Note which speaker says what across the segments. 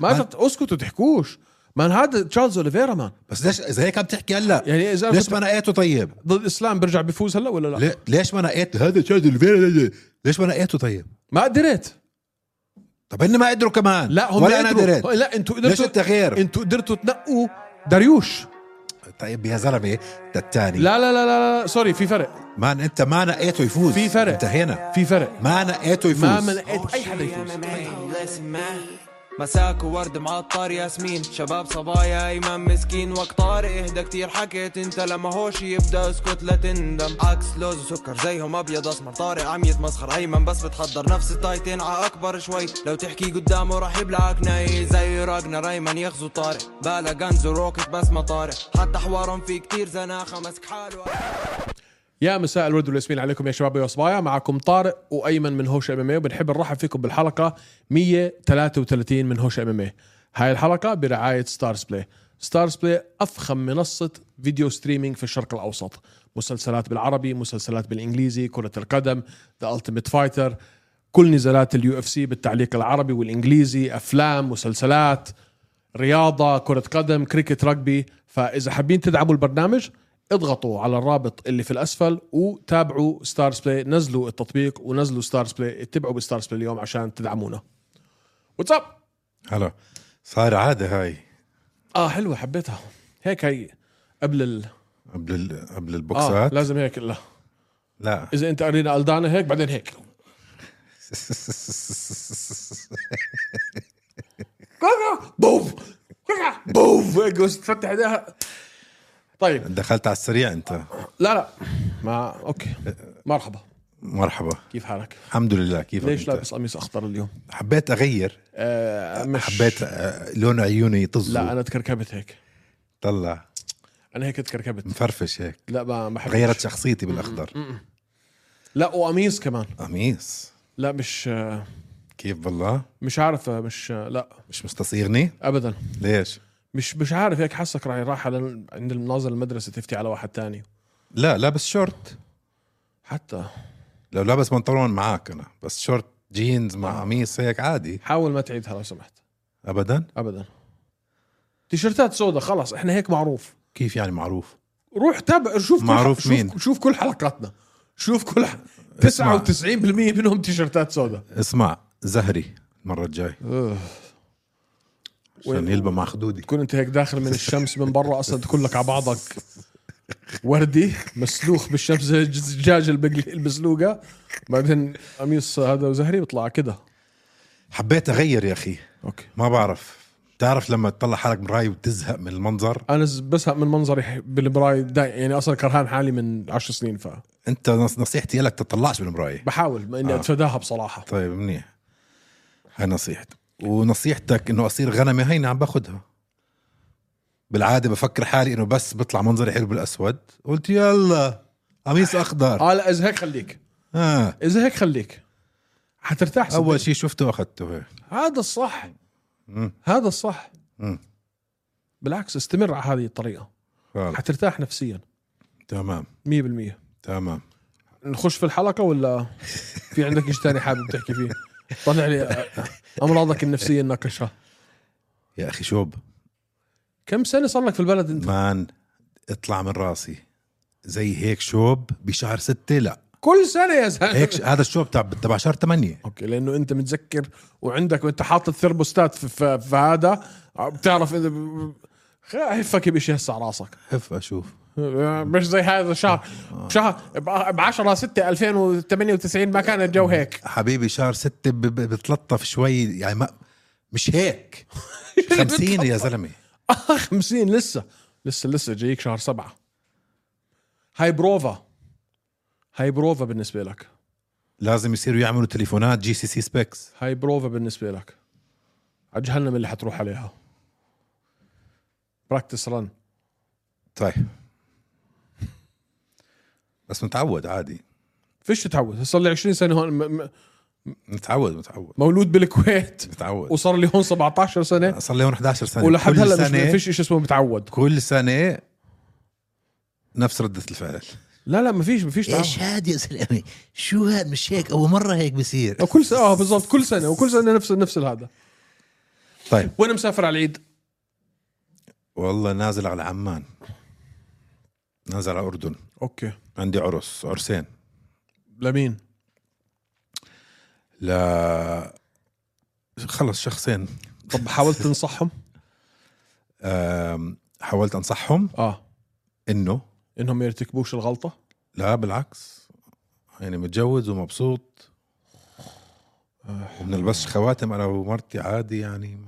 Speaker 1: ما أنت اسكتوا تحكوش ما هذا تشارلز اوليفيرا مان
Speaker 2: بس ليش اذا هيك عم تحكي هلا
Speaker 1: يعني اذا أنا
Speaker 2: ليش
Speaker 1: كنت
Speaker 2: ما نقيته طيب؟
Speaker 1: ضد اسلام برجع بفوز هلا ولا لا؟
Speaker 2: لي- ليش ما نقيت هذا تشارلز اوليفيرا ليش ما نقيته طيب؟
Speaker 1: ما قدرت
Speaker 2: طب هن ما قدروا كمان
Speaker 1: لا هم
Speaker 2: ولا انا
Speaker 1: قدروا.
Speaker 2: قدرت
Speaker 1: لا انتوا
Speaker 2: ليش
Speaker 1: قدرتوا
Speaker 2: التغيير؟
Speaker 1: انتوا قدرتوا تنقوا داريوش
Speaker 2: طيب يا زلمه ده الثاني
Speaker 1: لا لا لا لا, لا. سوري في فرق
Speaker 2: مان انت ما نقيته يفوز
Speaker 1: في فرق.
Speaker 2: انتهينا
Speaker 1: في فرق
Speaker 2: ما نقيته يفوز
Speaker 1: ما منقيت اي حدا يفوز
Speaker 3: مساك وورد معطر ياسمين شباب صبايا ايمن مسكين وقت طارق اهدى كتير حكيت انت لما هوش يبدا اسكت لا تندم عكس لوز وسكر زيهم ابيض اسمر طارق عم يتمسخر ايمن بس بتحضر نفس التايتين ع اكبر شوي لو تحكي قدامه راح يبلعك ناي زي راجنا ريمان يغزو طارق بالا غنز وروكت بس ما طارق حتى حوارهم في كتير زناخه مسك حاله
Speaker 1: يا مساء الورد والياسمين عليكم يا شباب ويا صبايا معكم طارق وايمن من هوش ام ام وبنحب نرحب فيكم بالحلقه 133 من هوش ام ام هاي الحلقه برعايه ستارز بلاي ستارز بلاي افخم منصه فيديو ستريمينج في الشرق الاوسط مسلسلات بالعربي مسلسلات بالانجليزي كره القدم ذا التيميت فايتر كل نزالات اليو اف سي بالتعليق العربي والانجليزي افلام مسلسلات رياضه كره قدم كريكت رugby فاذا حابين تدعموا البرنامج اضغطوا على الرابط اللي في الاسفل وتابعوا ستارز بلاي نزلوا التطبيق ونزلوا ستارز بلاي اتبعوا بستارز بلاي اليوم عشان تدعمونا واتساب
Speaker 2: هلا صار عاده هاي
Speaker 1: اه حلوه حبيتها هيك هي قبل ال
Speaker 2: قبل ال... قبل
Speaker 1: اه
Speaker 2: البوكسات
Speaker 1: لازم هيك لا
Speaker 2: لا
Speaker 1: اذا انت ارينا قلدانه هيك بعدين هيك بوف بوف هيك بس تفتح ايديها طيب
Speaker 2: دخلت على السريع انت
Speaker 1: لا لا ما اوكي مرحبا
Speaker 2: مرحبا
Speaker 1: كيف حالك؟
Speaker 2: الحمد لله كيف
Speaker 1: ليش لابس قميص اخضر اليوم؟
Speaker 2: حبيت اغير
Speaker 1: آه مش
Speaker 2: حبيت آه، لون عيوني يطز
Speaker 1: لا انا تكركبت هيك
Speaker 2: طلع
Speaker 1: انا هيك تكركبت
Speaker 2: مفرفش هيك
Speaker 1: لا ما ما حبيتش.
Speaker 2: غيرت شخصيتي بالاخضر
Speaker 1: لا وقميص كمان
Speaker 2: قميص
Speaker 1: لا مش آه،
Speaker 2: كيف بالله
Speaker 1: مش عارف آه، مش آه، لا
Speaker 2: مش مستصيغني
Speaker 1: ابدا
Speaker 2: ليش
Speaker 1: مش مش عارف هيك حسك راح راح على عند المناظر المدرسه تفتي على واحد تاني
Speaker 2: لا لابس شورت
Speaker 1: حتى
Speaker 2: لو لابس بنطلون معك انا بس شورت جينز مع قميص هيك عادي
Speaker 1: حاول ما تعيدها لو سمحت
Speaker 2: ابدا
Speaker 1: ابدا تيشيرتات سودا خلص احنا هيك معروف
Speaker 2: كيف يعني معروف
Speaker 1: روح تابع شوف كل
Speaker 2: معروف
Speaker 1: شوف
Speaker 2: مين؟
Speaker 1: شوف كل حلقاتنا شوف كل ح... 99% منهم تيشيرتات سودا
Speaker 2: اسمع زهري المره الجاي عشان
Speaker 1: وين-
Speaker 2: يلبى مع خدودي
Speaker 1: تكون انت هيك داخل من الشمس من برا اصلا تكلك على بعضك وردي مسلوخ بالشمس زي الدجاج المقلي- المسلوقه بعدين قميص هذا وزهري بيطلع كده
Speaker 2: حبيت اغير يا اخي
Speaker 1: اوكي
Speaker 2: ما بعرف بتعرف لما تطلع حالك مراي وتزهق من المنظر
Speaker 1: انا ز- بزهق من منظري بالمرايه داي- يعني اصلا كرهان حالي من عشر سنين
Speaker 2: انت نص- نصيحتي لك تطلعش بالمرايه
Speaker 1: فبحاول ما اني
Speaker 2: آه.
Speaker 1: اتفاداها بصراحه
Speaker 2: طيب منيح هاي نصيحتي ونصيحتك انه اصير غنمي هيني عم باخدها بالعاده بفكر حالي انه بس بطلع منظري حلو بالاسود قلت يلا قميص اخضر
Speaker 1: اه لا اذا هيك خليك
Speaker 2: آه.
Speaker 1: اذا هيك خليك حترتاح صدقني.
Speaker 2: اول شيء شفته اخذته هيك
Speaker 1: هذا الصح
Speaker 2: مم.
Speaker 1: هذا الصح
Speaker 2: مم.
Speaker 1: بالعكس استمر على هذه الطريقه
Speaker 2: خلص.
Speaker 1: حترتاح نفسيا
Speaker 2: تمام
Speaker 1: 100%
Speaker 2: تمام
Speaker 1: نخش في الحلقه ولا في عندك شيء ثاني حابب تحكي فيه؟ طلع لي امراضك النفسيه نناقشها
Speaker 2: يا اخي شوب
Speaker 1: كم سنه صار لك في البلد انت؟
Speaker 2: مان اطلع من راسي زي هيك شوب بشهر ستة لا
Speaker 1: كل سنه يا زلمه
Speaker 2: هيك ش- هذا الشوب تبع تبع شهر ثمانية
Speaker 1: اوكي لانه انت متذكر وعندك وانت حاطط ثرموستات في, في, في هذا بتعرف اذا ب- خ- هفك بشيء هسه على راسك
Speaker 2: هف اشوف
Speaker 1: مش زي هذا شهر شهر ب 10 6 2098 ما كان الجو هيك
Speaker 2: حبيبي شهر ستة ب- ب- بتلطف شوي يعني ما مش هيك
Speaker 1: يعني
Speaker 2: خمسين يا زلمة
Speaker 1: 50 آه، لسه لسه لسه جايك شهر سبعة هاي بروفا هاي بروفا بالنسبة لك
Speaker 2: لازم يصيروا يعملوا تليفونات جي سي سي سبيكس
Speaker 1: هاي بروفا بالنسبة لك على جهنم اللي حتروح عليها براكتس رن
Speaker 2: طيب بس متعود عادي
Speaker 1: فيش تتعود صار لي 20 سنة هون م- م-
Speaker 2: متعود متعود
Speaker 1: مولود بالكويت
Speaker 2: متعود
Speaker 1: وصار لي هون 17 سنة يعني
Speaker 2: صار لي هون 11 سنة
Speaker 1: ولحد
Speaker 2: كل
Speaker 1: هلا مش
Speaker 2: سنة
Speaker 1: فيش شيء اسمه متعود
Speaker 2: كل سنة نفس ردة الفعل
Speaker 1: لا لا ما فيش ما فيش تعود
Speaker 4: ايش هاد يا زلمه شو هاد مش هيك اول مره هيك بصير
Speaker 1: كل سنة اه بالضبط كل سنة وكل سنة نفس نفس هذا
Speaker 2: طيب
Speaker 1: وين مسافر على العيد؟
Speaker 2: والله نازل على عمان نازل على الاردن
Speaker 1: اوكي
Speaker 2: عندي عرس عرسين
Speaker 1: لمين؟
Speaker 2: لا خلص شخصين
Speaker 1: طب حاولت تنصحهم؟
Speaker 2: أم، حاولت انصحهم
Speaker 1: اه
Speaker 2: انه
Speaker 1: انهم ما يرتكبوش الغلطه؟
Speaker 2: لا بالعكس يعني متجوز ومبسوط وبنلبسش خواتم انا ومرتي عادي يعني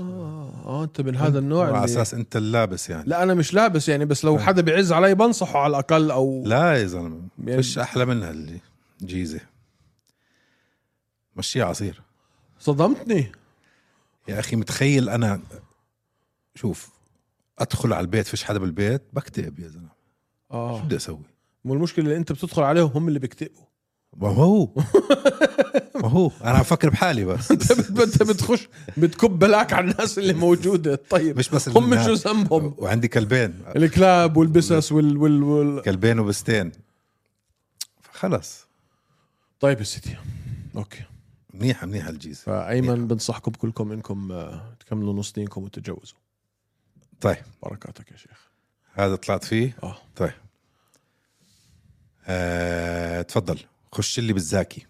Speaker 1: اه اه انت من هذا النوع
Speaker 2: على
Speaker 1: اللي...
Speaker 2: اساس انت اللابس يعني
Speaker 1: لا انا مش لابس يعني بس لو حدا بيعز علي بنصحه على الاقل او
Speaker 2: لا يا زلمه
Speaker 1: يعني-
Speaker 2: فيش احلى منها اللي جيزه مشي عصير
Speaker 1: صدمتني
Speaker 2: يا اخي متخيل انا شوف ادخل على البيت فيش حدا بالبيت بكتئب يا زلمه شو
Speaker 1: اه
Speaker 2: بدي اسوي
Speaker 1: والمشكله اللي انت بتدخل عليهم هم اللي بيكتئبوا
Speaker 2: ما هو ما هو انا عم فكر بحالي بس
Speaker 1: انت بت- انت بتخش بتكب بلاك على الناس اللي موجوده طيب
Speaker 2: مش بس
Speaker 1: هم
Speaker 2: الناس.
Speaker 1: شو ذنبهم
Speaker 2: وعندي كلبين
Speaker 1: الكلاب والبسس وال, وال, وال...
Speaker 2: كلبين وبستين خلص
Speaker 1: طيب يا سيدي اوكي
Speaker 2: منيحه منيحه الجيزه
Speaker 1: فايمن بنصحكم كلكم انكم آه، تكملوا نص دينكم وتتجوزوا
Speaker 2: طيب
Speaker 1: بركاتك يا شيخ
Speaker 2: هذا طلعت فيه
Speaker 1: اه
Speaker 2: طيب آه، تفضل خش لي بالزاكي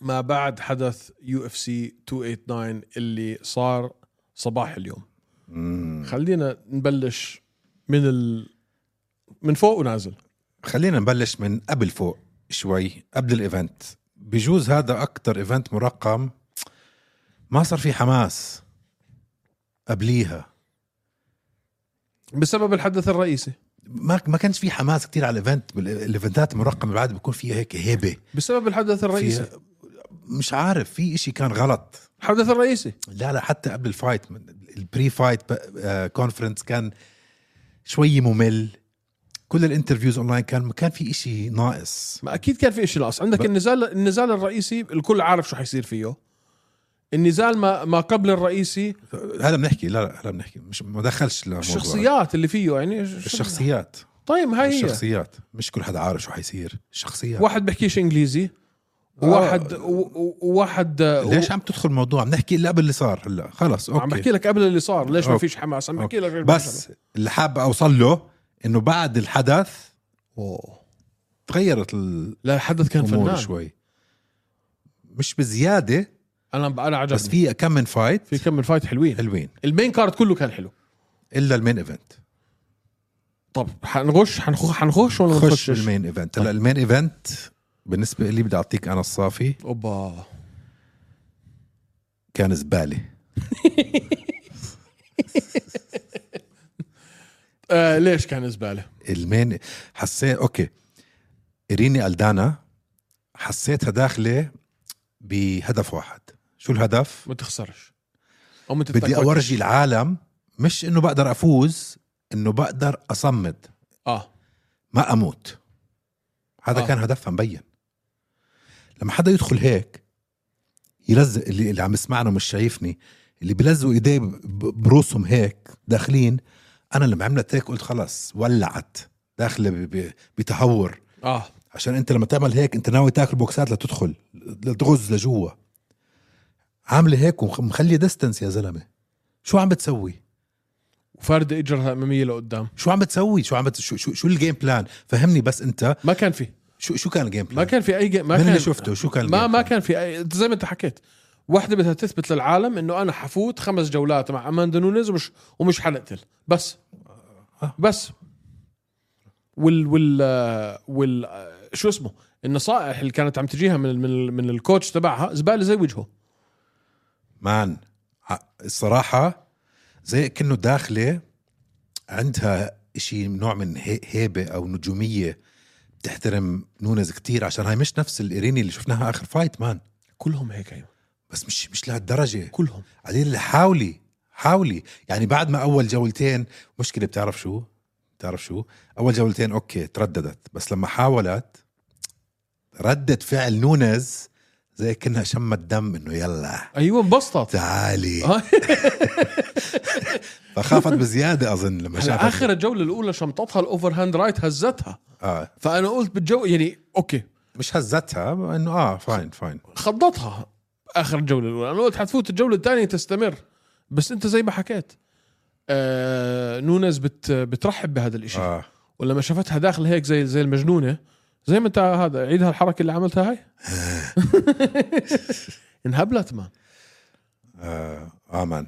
Speaker 1: ما بعد حدث يو اف سي 289 اللي صار صباح اليوم
Speaker 2: مم.
Speaker 1: خلينا نبلش من ال... من فوق ونازل
Speaker 2: خلينا نبلش من قبل فوق شوي قبل الايفنت بجوز هذا اكثر ايفنت مرقم ما صار في حماس قبليها
Speaker 1: بسبب الحدث الرئيسي
Speaker 2: ما ما كانش في حماس كتير على الايفنت بال- الايفنتات المرقمه اللي بعد بيكون فيها هيك هيبه
Speaker 1: بسبب الحدث الرئيسي
Speaker 2: فيها- مش عارف في إشي كان غلط
Speaker 1: الحدث الرئيسي
Speaker 2: لا لا حتى قبل الفايت البري فايت كونفرنس آه، كان شوي ممل كل الانترفيوز اونلاين كان كان في إشي ناقص
Speaker 1: ما اكيد كان في شيء ناقص عندك
Speaker 2: ب-
Speaker 1: النزال النزال الرئيسي الكل عارف شو حيصير فيه النزال ما ما قبل الرئيسي
Speaker 2: هلا بنحكي لا لا هلا بنحكي مش ما دخلش لموضوع
Speaker 1: الشخصيات اللي فيه يعني ش-
Speaker 2: الشخصيات
Speaker 1: طيب هاي هي
Speaker 2: الشخصيات مش كل حدا عارف شو حيصير الشخصيات
Speaker 1: واحد بحكيش انجليزي وواحد و- وواحد
Speaker 2: آه، ليش عم تدخل الموضوع عم نحكي اللي قبل اللي صار هلا خلص اوكي
Speaker 1: عم بحكي لك قبل اللي صار ليش ما
Speaker 2: أوكي.
Speaker 1: فيش حماس عم
Speaker 2: أوكي.
Speaker 1: بحكي لك
Speaker 2: بس اللي حاب اوصل له انه بعد الحدث
Speaker 1: أوه.
Speaker 2: تغيرت الامور
Speaker 1: لا الحدث كان فنان شوي.
Speaker 2: شوي مش بزياده
Speaker 1: انا انا عجبني
Speaker 2: بس في كم من فايت
Speaker 1: في كم من فايت حلوين
Speaker 2: حلوين
Speaker 1: المين كارد كله كان حلو
Speaker 2: الا المين ايفنت
Speaker 1: طب حنغش حنخ... حنخش ولا ما
Speaker 2: خش
Speaker 1: نخشش
Speaker 2: المين ايفنت
Speaker 1: آه.
Speaker 2: هلا المين ايفنت بالنسبه لي بدي اعطيك انا الصافي
Speaker 1: اوبا
Speaker 2: كان زباله
Speaker 1: آه ليش كان زباله
Speaker 2: المين حسيت اوكي اريني الدانا حسيتها داخله بهدف واحد شو الهدف
Speaker 1: ما تخسرش او ما
Speaker 2: بدي
Speaker 1: تتكوتش.
Speaker 2: اورجي العالم مش انه بقدر افوز انه بقدر اصمد
Speaker 1: اه
Speaker 2: ما اموت هذا
Speaker 1: آه.
Speaker 2: آه. كان هدفها مبين لما حدا يدخل هيك يلزق اللي, اللي عم يسمعنا مش شايفني اللي بيلزقوا ايديه ب- ب- بروسهم هيك داخلين انا لما عملت هيك قلت خلاص ولعت داخله ب- ب- بتهور
Speaker 1: اه
Speaker 2: عشان انت لما تعمل هيك انت ناوي تاكل بوكسات لتدخل لتغز لجوا عامله هيك ومخليه ديستنس يا زلمه شو عم بتسوي؟
Speaker 1: وفارده اجرها اماميه لقدام
Speaker 2: شو عم بتسوي؟ شو عم بت... شو, شو, شو الجيم بلان؟ فهمني بس انت
Speaker 1: ما كان في
Speaker 2: شو شو كان الجيم بلان؟
Speaker 1: ما كان في اي جي... ما
Speaker 2: من
Speaker 1: كان
Speaker 2: اللي شفته شو كان
Speaker 1: ما
Speaker 2: الجيم
Speaker 1: ما
Speaker 2: بلان؟
Speaker 1: كان في أي... زي ما انت حكيت واحدة بدها تثبت للعالم انه انا حفوت خمس جولات مع اماندا نونيز ومش ومش حنقتل بس بس وال وال وال شو اسمه النصائح اللي كانت عم تجيها من من, من الكوتش تبعها زباله زي وجهه
Speaker 2: مان ع- الصراحه زي كأنه داخله عندها شيء نوع من هي- هيبه او نجوميه بتحترم نونز كتير عشان هاي مش نفس الايريني اللي شفناها اخر فايت مان
Speaker 1: كلهم هيك ايوه
Speaker 2: بس مش مش لهالدرجه
Speaker 1: كلهم
Speaker 2: بعدين اللي حاولي حاولي يعني بعد ما اول جولتين مشكله بتعرف شو بتعرف شو اول جولتين اوكي ترددت بس لما حاولت ردة فعل نونز زي كأنها شمت دم انه يلا
Speaker 1: ايوه انبسطت
Speaker 2: تعالي
Speaker 1: آه.
Speaker 2: فخافت بزياده اظن لما
Speaker 1: على
Speaker 2: شافت
Speaker 1: اخر الجوله الاولى شمطتها الاوفر هاند رايت هزتها
Speaker 2: اه
Speaker 1: فانا قلت بالجو يعني اوكي
Speaker 2: مش هزتها انه اه فاين فاين
Speaker 1: خضتها اخر الجوله الاولى انا قلت حتفوت الجوله الثانيه تستمر بس انت زي ما حكيت آه نونز بت بترحب بهذا الاشي آه.
Speaker 2: اه
Speaker 1: ولما شافتها داخل هيك زي زي المجنونه زي ما انت هذا عيد هالحركه اللي عملتها هاي انهبلت مان
Speaker 2: اه آه، مان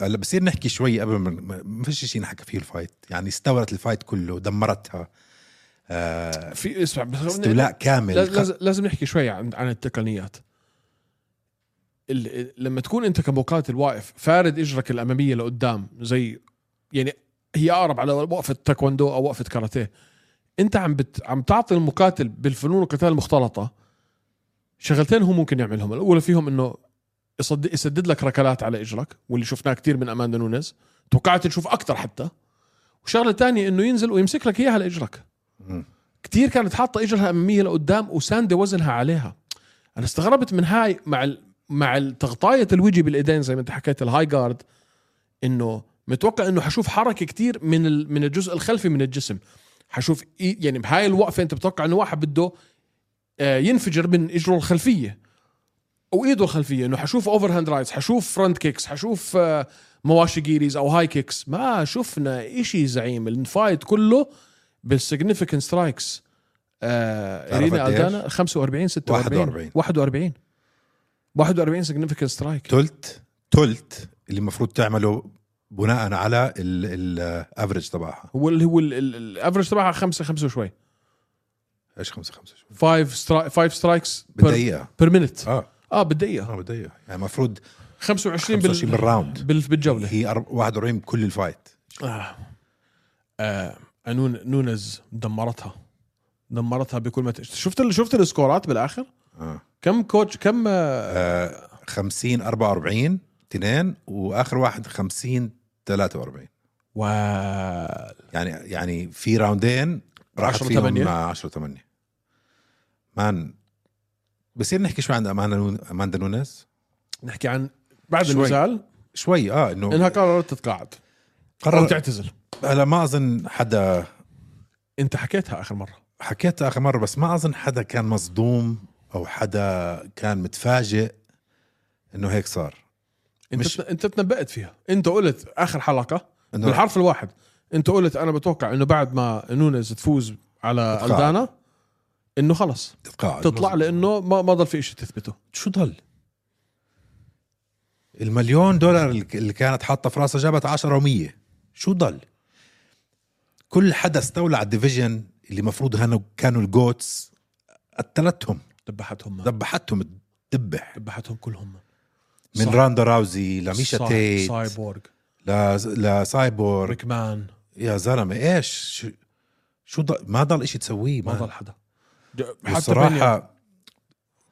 Speaker 2: هلا آه، بصير نحكي شوي قبل ما ما- ما فيش شيء نحكى فيه الفايت يعني استورت الفايت كله دمرتها آه
Speaker 1: في اسمع بس
Speaker 2: استولاء كامل
Speaker 1: لاز- لازم لازم نحكي شوي عن عن التقنيات ال- لما تكون انت كمقاتل واقف فارد اجرك الاماميه لقدام زي يعني هي اقرب على وقفه تايكوندو او وقفه كاراتيه انت عم بت عم تعطي المقاتل بالفنون القتال المختلطه شغلتين هو ممكن يعملهم الاولى فيهم انه يصد- يسدد لك ركلات على اجرك واللي شفناه كتير من اماندا نونيز توقعت نشوف اكثر حتى وشغله تانية انه ينزل ويمسك لك اياها لاجرك
Speaker 2: مم.
Speaker 1: كتير كانت حاطه اجرها اماميه لقدام وساندة وزنها عليها انا استغربت من هاي مع ال... مع تغطايه الوجه بالايدين زي ما انت حكيت الهاي جارد انه متوقع انه حشوف حركه كتير من ال... من الجزء الخلفي من الجسم حشوف إي... يعني بهاي الوقفه انت بتوقع انه واحد بده آه، ينفجر من اجره الخلفيه او ايده الخلفيه انه حشوف اوفر هاند رايتس حشوف فرونت كيكس حشوف آه، مواشي جيريز او هاي كيكس ما شفنا إشي زعيم الفايت كله بالسيجنفكنت سترايكس آه
Speaker 2: تعرف
Speaker 1: ارينا
Speaker 2: قديش؟
Speaker 1: الدانا 45 46
Speaker 2: 41.
Speaker 1: 41 41 سيجنفكنت سترايك
Speaker 2: تلت تلت اللي المفروض تعمله بناء على الافرج تبعها
Speaker 1: هو اللي هو الافرج تبعها 5 5 وشوي
Speaker 2: ايش خمسة خمسة شو
Speaker 1: 5 5 سترايكس
Speaker 2: بالدقيقة
Speaker 1: بير مينت
Speaker 2: اه
Speaker 1: اه بالدقيقه
Speaker 2: اه بالدقيقة يعني المفروض
Speaker 1: 25
Speaker 2: 25
Speaker 1: بال...
Speaker 2: بالراوند
Speaker 1: بال... بالجوله
Speaker 2: هي أرب- 41 بكل الفايت
Speaker 1: آه. آه. نون نونز دمرتها دمرتها بكل ما ت... شفت ال... شفت السكورات آه. بالاخر
Speaker 2: اه
Speaker 1: كم كوتش كم آه،
Speaker 2: 50 44 2 واخر واحد 50 43
Speaker 1: وال
Speaker 2: يعني يعني في راوندين راحت
Speaker 1: 10
Speaker 2: فيهم
Speaker 1: تمانية.
Speaker 2: 10 8 مان بصير نحكي شوي عن اماندا نون- اماندا نونيز
Speaker 1: نحكي عن بعد
Speaker 2: شوي.
Speaker 1: النزال
Speaker 2: شوي اه
Speaker 1: انها
Speaker 2: انه
Speaker 1: قررت تتقاعد قررت
Speaker 2: قرر
Speaker 1: تعتزل
Speaker 2: هلا ما اظن حدا
Speaker 1: انت حكيتها اخر مره
Speaker 2: حكيت اخر مره بس ما اظن حدا كان مصدوم او حدا كان متفاجئ انه هيك صار
Speaker 1: انت
Speaker 2: مش-
Speaker 1: مش... انت تنبأت فيها انت قلت اخر حلقه
Speaker 2: إنه-
Speaker 1: بالحرف الواحد انت قلت انا بتوقع انه بعد ما نونز تفوز على
Speaker 2: تتقاعد.
Speaker 1: الدانا انه خلص
Speaker 2: تتقاعد
Speaker 1: تطلع لانه ما ما ضل في شيء تثبته
Speaker 2: شو ضل؟ المليون دولار اللي كانت حاطه في راسها جابت 10 و100 شو ضل؟ كل حدا استولى على الديفيجن اللي المفروض هانوا- كانوا الجوتس قتلتهم
Speaker 1: ذبحتهم
Speaker 2: ذبحتهم تذبح
Speaker 1: ذبحتهم كلهم
Speaker 2: من
Speaker 1: صح.
Speaker 2: راندا راوزي لميشا
Speaker 1: صاي-
Speaker 2: تيت
Speaker 1: سايبورغ
Speaker 2: ل- لسايبورغ
Speaker 1: ريكمان
Speaker 2: يا زلمه ايش شو- شو ضل ما ضل إشي تسويه
Speaker 1: ما
Speaker 2: مان.
Speaker 1: ضل حدا بينيا-
Speaker 2: بصراحة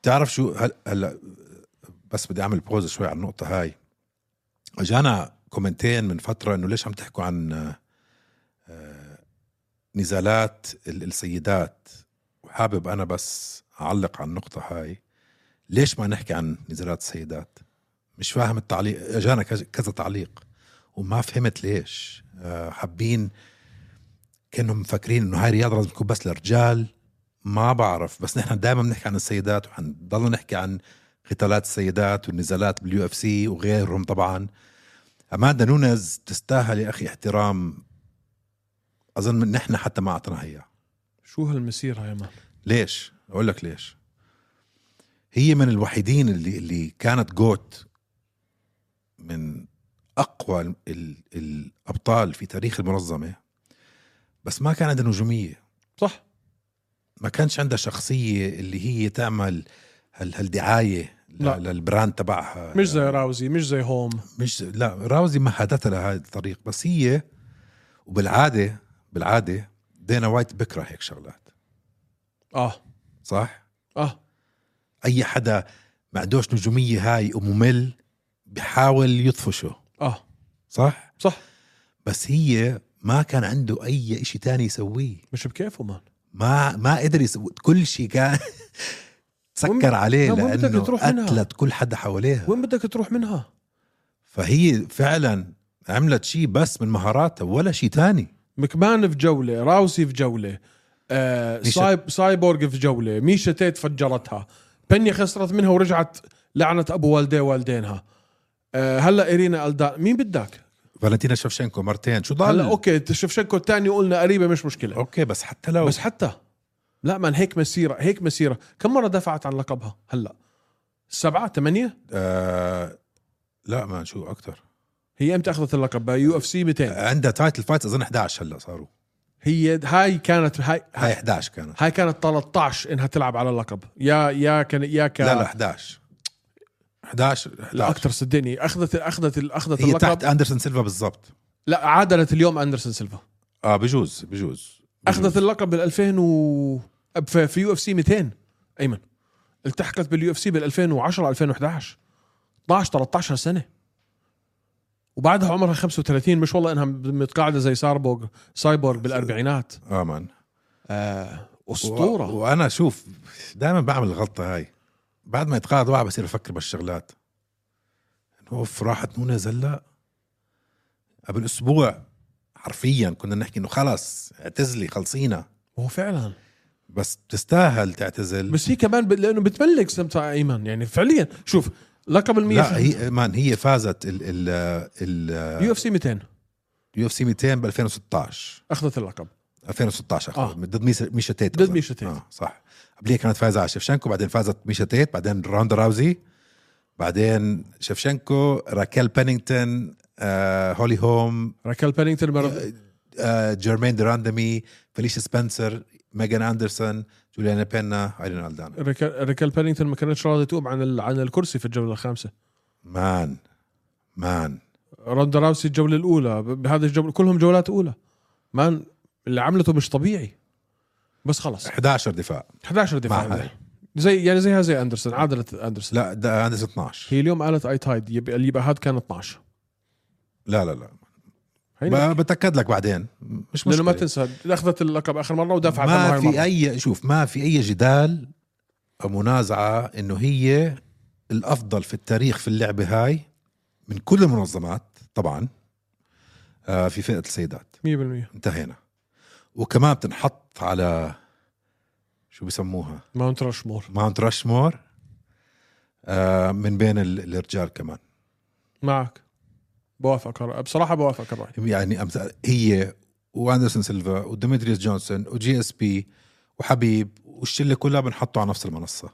Speaker 2: تعرف شو هل- هلا بس بدي اعمل بوز شوي على النقطة هاي اجانا كومنتين من فترة انه ليش عم تحكوا عن آه، نزالات ال- السيدات وحابب انا بس اعلق على النقطة هاي ليش ما نحكي عن نزالات السيدات مش فاهم التعليق اجانا كذا كذا تعليق وما فهمت ليش آه، حابين كانهم مفكرين انه هاي رياضة لازم تكون بس للرجال ما بعرف بس نحن دائما بنحكي عن السيدات وحنضل نحكي عن قتالات السيدات والنزالات باليو اف سي وغيرهم طبعا اماندا نونز تستاهل يا اخي احترام اظن من نحن حتى ما اعطيناها اياه
Speaker 1: شو هالمسيرة يا مان
Speaker 2: ليش؟ اقول لك ليش هي من الوحيدين اللي اللي كانت جوت من اقوى ال ال الابطال في تاريخ المنظمه بس ما كان عندها نجوميه
Speaker 1: صح
Speaker 2: ما كانش عندها شخصية اللي هي تعمل هال هالدعاية ل-
Speaker 1: لا.
Speaker 2: للبراند تبعها
Speaker 1: مش زي راوزي مش زي هوم
Speaker 2: مش لا راوزي ما هادتها لهذا الطريق بس هي وبالعادة بالعادة دينا وايت بكره هيك شغلات
Speaker 1: اه
Speaker 2: صح؟
Speaker 1: اه
Speaker 2: أي حدا ما عندوش نجومية هاي وممل بحاول يطفشه
Speaker 1: اه
Speaker 2: صح؟
Speaker 1: صح
Speaker 2: بس هي ما كان عنده أي إشي تاني يسويه
Speaker 1: مش بكيفه مان
Speaker 2: ما ما قدر يسوي كل شيء كان سكر عليه
Speaker 1: لا، وين بدك
Speaker 2: لانه
Speaker 1: تروح منها؟
Speaker 2: قتلت كل حدا حواليها
Speaker 1: وين بدك تروح منها
Speaker 2: فهي فعلا عملت شيء بس من مهاراتها ولا شيء تاني
Speaker 1: مكمان في جولة راوسي في جولة آه
Speaker 2: ميشا-
Speaker 1: سايب سايبورغ في جولة ميشا تيت فجرتها بنيا خسرت منها ورجعت لعنة أبو والديه والدينها آه، هلا ايرينا الدار مين بدك؟
Speaker 2: فالنتينا شفشنكو مرتين شو ضل
Speaker 1: هلا اوكي شفشنكو الثاني قلنا قريبه مش مشكله
Speaker 2: اوكي بس حتى لو
Speaker 1: بس حتى لا من هيك مسيره هيك مسيره كم مره دفعت عن لقبها هلا سبعة ثمانية
Speaker 2: آه لا ما شو اكثر
Speaker 1: هي امتى اخذت اللقب يو اف سي 200
Speaker 2: عندها تايتل فايت اظن 11 هلا صاروا
Speaker 1: هي هاي كانت هاي
Speaker 2: هاي 11 كانت
Speaker 1: هاي كانت 13 انها تلعب على اللقب يا يا كان يا ك
Speaker 2: لا لا 11 11
Speaker 1: لا
Speaker 2: 11
Speaker 1: اكثر صدقني اخذت اخذت اخذت
Speaker 2: هي
Speaker 1: اللقب
Speaker 2: تحت اندرسون سيلفا بالضبط
Speaker 1: لا عادلت اليوم اندرسون سيلفا
Speaker 2: اه بجوز بجوز
Speaker 1: اخذت اللقب بال 2000 و في- في يو اف سي 200 ايمن التحقت باليو اف سي بال 2010 2011 12 13 سنه وبعدها عمرها 35 مش والله انها متقاعده زي ساربورغ سايبورغ بالاربعينات
Speaker 2: اه مان
Speaker 1: آه
Speaker 2: و-
Speaker 1: اسطوره
Speaker 2: وانا شوف دائما بعمل الغلطه هاي بعد ما يتقاعد واحد بصير افكر بالشغلات إنه اوف راحت نونا زلا قبل اسبوع حرفيا كنا نحكي انه خلص اعتزلي خلصينا
Speaker 1: هو فعلا
Speaker 2: بس بتستاهل تعتزل
Speaker 1: بس هي كمان ب... لانه بتملك سمتها ايمن يعني فعليا شوف لقب ال 100
Speaker 2: لا هي مان هي فازت ال ال
Speaker 1: يو اف سي 200
Speaker 2: اليو اف سي 200 ب 2016
Speaker 1: اخذت اللقب
Speaker 2: 2016
Speaker 1: آه.
Speaker 2: آه. ضد ميسا- ميشا تيت
Speaker 1: ضد
Speaker 2: أظن.
Speaker 1: ميشا تيت.
Speaker 2: آه صح قبليها كانت فايزه على شفشنكو بعدين فازت ميشا تيت بعدين روندا راوزي بعدين شفشنكو راكيل بانينغتون آه هولي هوم
Speaker 1: راكال بانينغتون مرة-
Speaker 2: آه جيرمين دراندمي فelicia سبنسر ميغان اندرسون جوليانا بينا ايرين الدانا
Speaker 1: راكال راكال بانينغتون ما كانتش راضيه تقوم عن ال... عن الكرسي في الجوله الخامسه
Speaker 2: مان مان
Speaker 1: روندا راوسي الجوله الاولى ب- بهذا الجوله كلهم جولات اولى مان اللي عملته مش طبيعي بس خلص
Speaker 2: 11 دفاع
Speaker 1: 11 دفاع
Speaker 2: مع هاي.
Speaker 1: زي يعني زيها زي اندرسون عادلت اندرسون
Speaker 2: لا ده اندرسون 12
Speaker 1: هي اليوم قالت اي تايد يبقى اللي يبقى هاد كان 12
Speaker 2: لا لا لا
Speaker 1: هي
Speaker 2: ب- بتاكد لك بعدين مش
Speaker 1: لانه
Speaker 2: مشكله
Speaker 1: ما تنسى اخذت اللقب اخر مره ودفعت عنه
Speaker 2: ما
Speaker 1: هاي
Speaker 2: في
Speaker 1: المرة.
Speaker 2: اي شوف ما في اي جدال او منازعه انه هي الافضل في التاريخ في اللعبه هاي من كل المنظمات طبعا آه، في فئه السيدات
Speaker 1: 100%
Speaker 2: انتهينا وكمان بتنحط على شو بسموها
Speaker 1: ماونت راشمور
Speaker 2: ماونت راشمور آه، من بين ال- الرجال كمان
Speaker 1: معك بوافقك الرأي. بصراحه بوافقك الراي
Speaker 2: يعني امثال هي واندرسون سيلفا وديمتريوس جونسون وجي اس بي وحبيب والشله كلها بنحطوا على نفس المنصه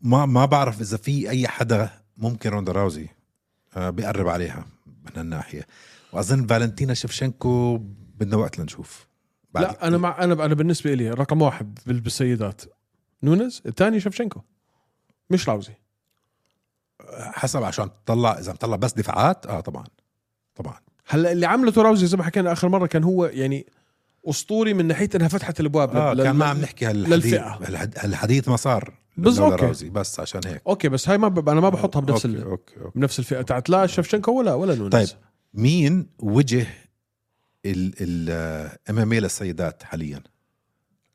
Speaker 2: ما ما بعرف اذا في اي حدا ممكن روندا راوزي آه، بيقرب عليها من الناحيه واظن فالنتينا شفشنكو بدنا وقت لنشوف بعد-
Speaker 1: لا انا مع انا انا بالنسبه لي رقم واحد بال- بالسيدات نونز الثاني شفشنكو مش راوزي
Speaker 2: حسب عشان تطلع اذا مطلع بس دفاعات اه طبعا طبعا
Speaker 1: هلا اللي عملته راوزي زي ما حكينا اخر مره كان هو يعني اسطوري من ناحيه انها فتحت الابواب
Speaker 2: آه
Speaker 1: لل-
Speaker 2: كان ما
Speaker 1: لل-
Speaker 2: عم نحكي هالحديث
Speaker 1: للفئة.
Speaker 2: هالحد- هالحديث ما صار
Speaker 1: بس
Speaker 2: لولا
Speaker 1: أوكي.
Speaker 2: راوزي بس عشان هيك
Speaker 1: اوكي بس هاي ما ب... انا ما بحطها بنفس
Speaker 2: أوكي،
Speaker 1: ال...
Speaker 2: أوكي، أوكي.
Speaker 1: بنفس الفئه تاعت لا شفشنكو ولا ولا نونز
Speaker 2: طيب مين وجه ال ام ام للسيدات حاليا؟ ك-